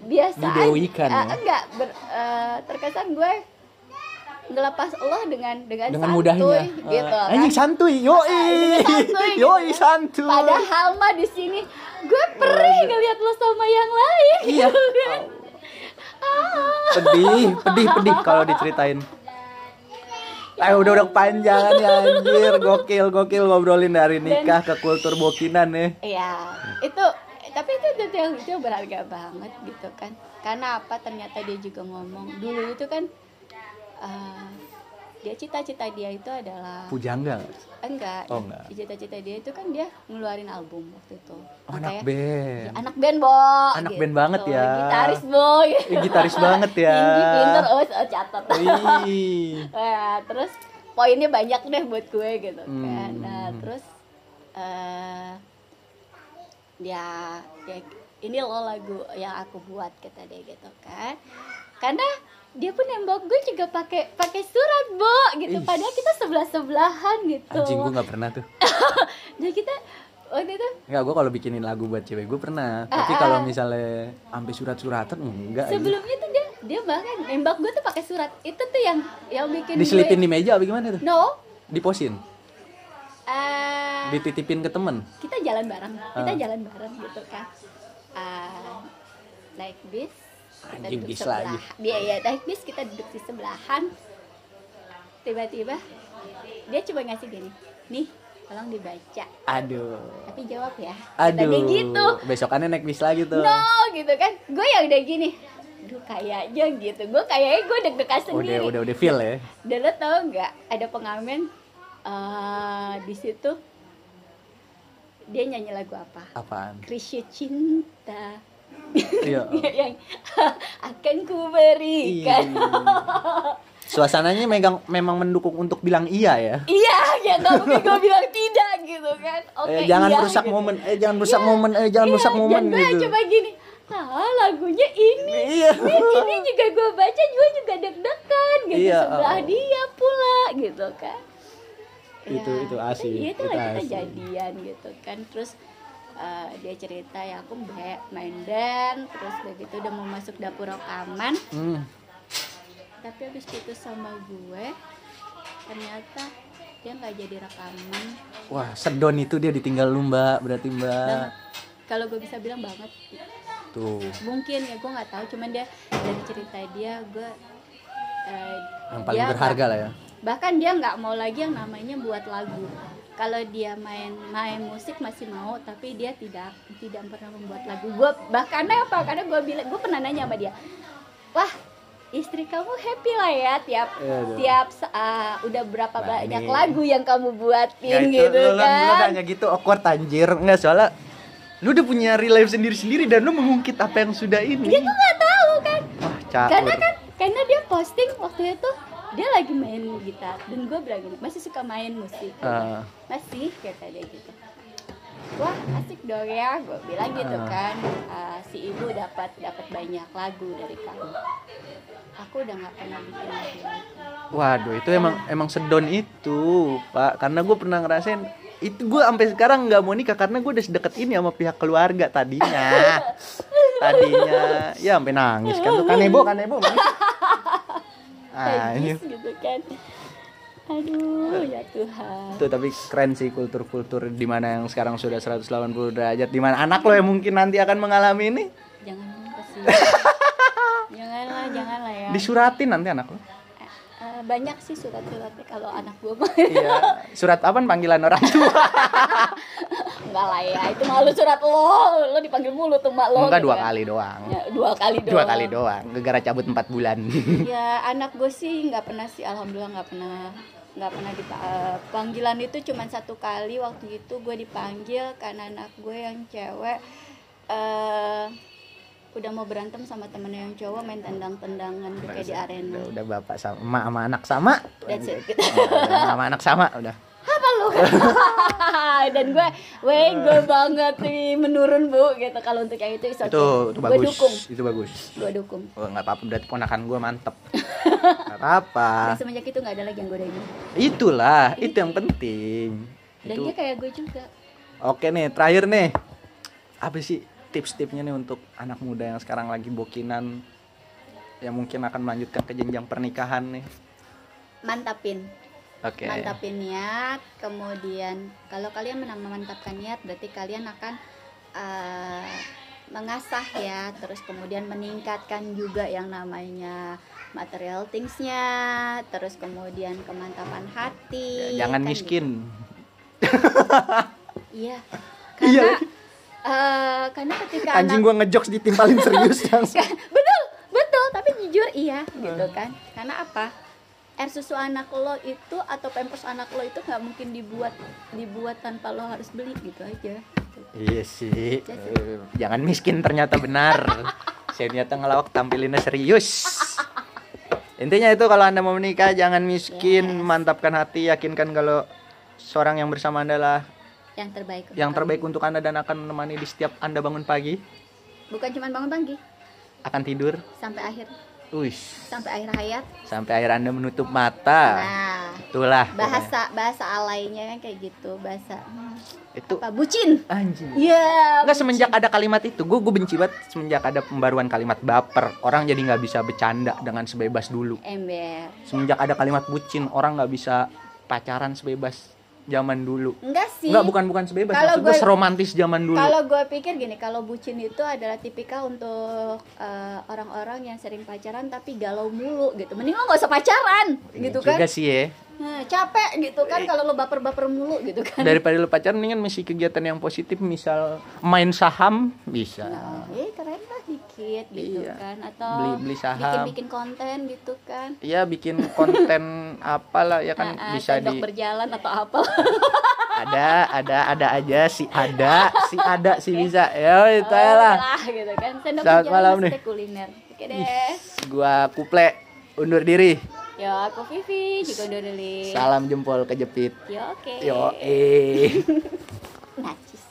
biasa aja. Didewikan ya? Eh, enggak ber- eh, terkesan gue ngelepas lo dengan dengan, Dengan santuy mudahnya. gitu Eh, kan. anjing santuy. Yoi. Dengan santuy, gitu Yoi kan. santuy. Padahal mah di sini gue perih ngelihat lo sama yang lain Iya. gitu kan. Ah. pedih, pedih, pedih kalau diceritain. Ayo udah udah panjangan ya anjir, gokil gokil ngobrolin dari nikah ke kultur bokinan ya. nih. Iya, itu tapi itu itu yang itu yang berharga banget gitu kan. Karena apa? Ternyata dia juga ngomong dulu itu kan eh, dia cita-cita dia itu adalah Pujangga. nggak? enggak. Oh, enggak. Cita-cita dia itu kan dia ngeluarin album waktu itu. Oh, anak Makanya- band. Anak band, Bo. gitu. Anak band banget ya. Gitaris, Bo. Eh, gitaris banget ya. iya. Tinggi, pinter, oh, catat. Ih. Nah, terus poinnya banyak deh buat gue gitu kan. Hmm. Nah, terus eh ya, ya ini lo lagu yang aku buat kata dia gitu kan. Karena dia pun nembak gue juga pakai pakai surat, Bo, gitu. Ih. Padahal kita sebelah-sebelahan gitu. Anjing gua nggak pernah tuh. Nah, kita waktu itu Enggak, gua kalau bikinin lagu buat cewek gua pernah. Ah, Tapi ah. kalau misalnya sampai surat-suratan enggak. gitu. anjing. sebelumnya tuh dia dia bahkan nembak gue tuh pakai surat. Itu tuh yang yang bikin Diselipin di gue meja apa gimana tuh? No. Diposin, Eh dititipin ke temen kita jalan bareng kita Ah. jalan bareng gitu kan Ah, naik bis kita Anjing, duduk bis lagi. sebelah- dia ya naik bis kita duduk di sebelahan tiba-tiba dia cuma ngasih gini nih tolong dibaca Aduh. tapi jawab ya Kata dia Aduh. gitu Besokannya naik bis lagi tuh. no gitu kan gue ya udah gini Duh kayaknya gitu Gue kayaknya gue deg-degan Udah sendiri udah udah feel ya. dan lo tau nggak ada pengamen eh, di situ dia nyanyi lagu apa? Apaan? Krisya cinta Iya. yang akan ku berikan. Iya. Suasananya megang memang mendukung untuk bilang iya ya. Iya, ya nggak mungkin gue bilang tidak gitu kan. Oke, eh, jangan iya, merusak gitu. momen, eh jangan merusak momen, eh jangan Iya, merusak momen dan gue gitu. coba gini, ah lagunya ini. Iya. Dan ini juga gue baca, gue juga deg-degan gitu Iya, sebelah oh. dia pula gitu kan. Itu- itu asik, Iya itu itu lagi kita asik. jadian gitu kan. Terus eh, dia cerita ya aku be- main band, terus begitu udah mau masuk dapur rekaman, Hmm. tapi habis putus sama gue ternyata dia nggak jadi rekaman Wah, sedon itu dia ditinggal lu, Mbak. Berarti, Mbak. banget Nah, kalau gue bisa bilang banget Tuh, mungkin ya gue nggak tahu cuman dia dari cerita dia gue eh, yang paling dia berharga nggak- lah ya. bahkan dia nggak mau lagi yang namanya buat lagu kalau dia main main musik masih mau tapi dia tidak tidak pernah membuat lagu gue bahkan eh, apa karena gue bilang gue pernah nanya sama dia wah istri kamu happy lah ya tiap Iya, dong. tiap sa- ah, udah berapa Nah, banyak ini- lagu yang kamu buatin Ya itu, gitu lu- lu- Lu kan nanya gitu awkward anjir. Enggak soalnya lu udah punya real life sendiri-sendiri dan lu mengungkit apa yang sudah ini. dia tuh Ya, nggak tahu Iya, kan Wah, cakep. karena kan karena dia posting waktu itu dia lagi main gitar dan gue bilang gini masih suka main musik Ah. masih kata dia gitu wah asik dong ya gue bilang gitu Ah. kan "Ah, si ibu dapat dapat banyak lagu dari kamu aku udah nggak pernah bikin lagu lagi." Waduh, itu emang emang sedon itu, Pak. Karena gue pernah ngerasain itu gue sampai sekarang nggak mau nikah karena gue udah sedekat ini sama pihak keluarga tadinya. Tadinya ya sampai nangis kan tuh kanebo kanebo. nangis. Ah, ini. Tragis gitu kan aduh ya Tuhan Tuh tapi keren sih kultur-kultur di mana yang sekarang sudah 180 derajat di mana anak lo yang mungkin nanti akan mengalami ini jangan kesini janganlah janganlah ya disuratin nanti anak lo. Eh, eh, banyak sih surat-suratnya kalau anak gue mah Iya, surat apa panggilan orang tua? Enggak lah ya, itu malu surat lo, lo dipanggil mulu tuh mak lo. Enggak gitu dua kan. kali doang. Ya, dua kali doang. Dua kali doang, gara cabut 4 bulan. Ya anak gue sih nggak pernah sih, alhamdulillah nggak pernah nggak pernah dipa- eh, panggilan itu cuma satu kali waktu itu gue dipanggil karena anak gue yang cewek eh udah mau berantem sama temennya yang cowok main tendang-tendangan gitu kayak di arena. udah, udah bapak sama Iya, emak sama anak sama That's it. Udah, sama anak sama udah Apa lu? dan gue weh gue banget nih menurun bu gitu kalau untuk yang itu it's okay. itu, itu gue bagus dukung itu bagus gue dukung Oh, nggak apa-apa berarti ponakan gue mantep nggak apa dan semenjak itu nggak ada lagi yang godain gue. itulah itu yang penting dan Itu- dia kayak gue juga oke nih terakhir nih apa sih tips-tipsnya nih untuk anak muda yang sekarang lagi bokinan yang mungkin akan melanjutkan ke jenjang pernikahan nih mantapin oke mantapin niat kemudian kalau kalian menang memantapkan niat berarti kalian akan eh, mengasah ya terus kemudian meningkatkan juga yang namanya material thingsnya terus kemudian kemantapan hati Ya, jangan kan gitu. miskin iya Iya karena lagi. eh, karena ketika anjing anak gue ngejokes ditimpalin serius langsung betul betul tapi jujur iya Nah. gitu kan karena apa air susu anak lo itu atau pampers anak lo itu nggak mungkin dibuat dibuat tanpa lo harus beli gitu aja Iya sih. Eh, Jangan miskin ternyata benar. Saya ternyata ngelawak tampilinnya serius. Intinya itu kalau Anda mau menikah jangan miskin, Yes. mantapkan hati, yakinkan kalau seorang yang bersama Anda lah yang terbaik untuk yang terbaik kamu. untuk Anda dan akan menemani di setiap Anda bangun pagi, bukan cuma bangun pagi akan tidur, sampai akhir uish, sampai akhir hayat sampai akhir Anda menutup mata. nah Itulah. pokoknya. bahasa bahasa alainya kan kayak gitu bahasa hmm, itu apa bucin anjing. iya Enggak semenjak ada kalimat itu, gue gue benci banget semenjak ada pembaruan kalimat baper. Orang jadi nggak bisa bercanda dengan sebebas dulu. ember Semenjak ada kalimat bucin, orang nggak bisa pacaran sebebas zaman dulu. enggak sih Enggak, bukan bukan sebebas, Kalau maksud gue gue- seromantis zaman dulu. Kalau gue pikir gini, kalau bucin itu adalah tipikal untuk eh, orang-orang yang sering pacaran tapi galau mulu gitu. Mending lo gak usah pacaran Iya gitu juga kan. sih Iya. ya. Nah, capek gitu kan kalau lo baper-baper mulu gitu kan. Daripada lu pacaran mendingan mesti kegiatan yang positif, misal main saham bisa. Nah, eh keren lah dikit gitu Iya. kan atau Beli- beli saham. bikin-bikin konten gitu kan. Iya bikin konten apalah ya kan Nah, ah, bisa di sendok berjalan atau apa. ada ada ada aja si ada si ada si bisa ya itu aja lah lah gitu kan. Sendok Selamat berjalan malam maksudnya nih. kuliner. Oke deh. Is, gua kuple undur diri. Yo, aku Vivi juga udah dulu. Salam jempol kejepit. Yo, oke. Yo eh. Najis.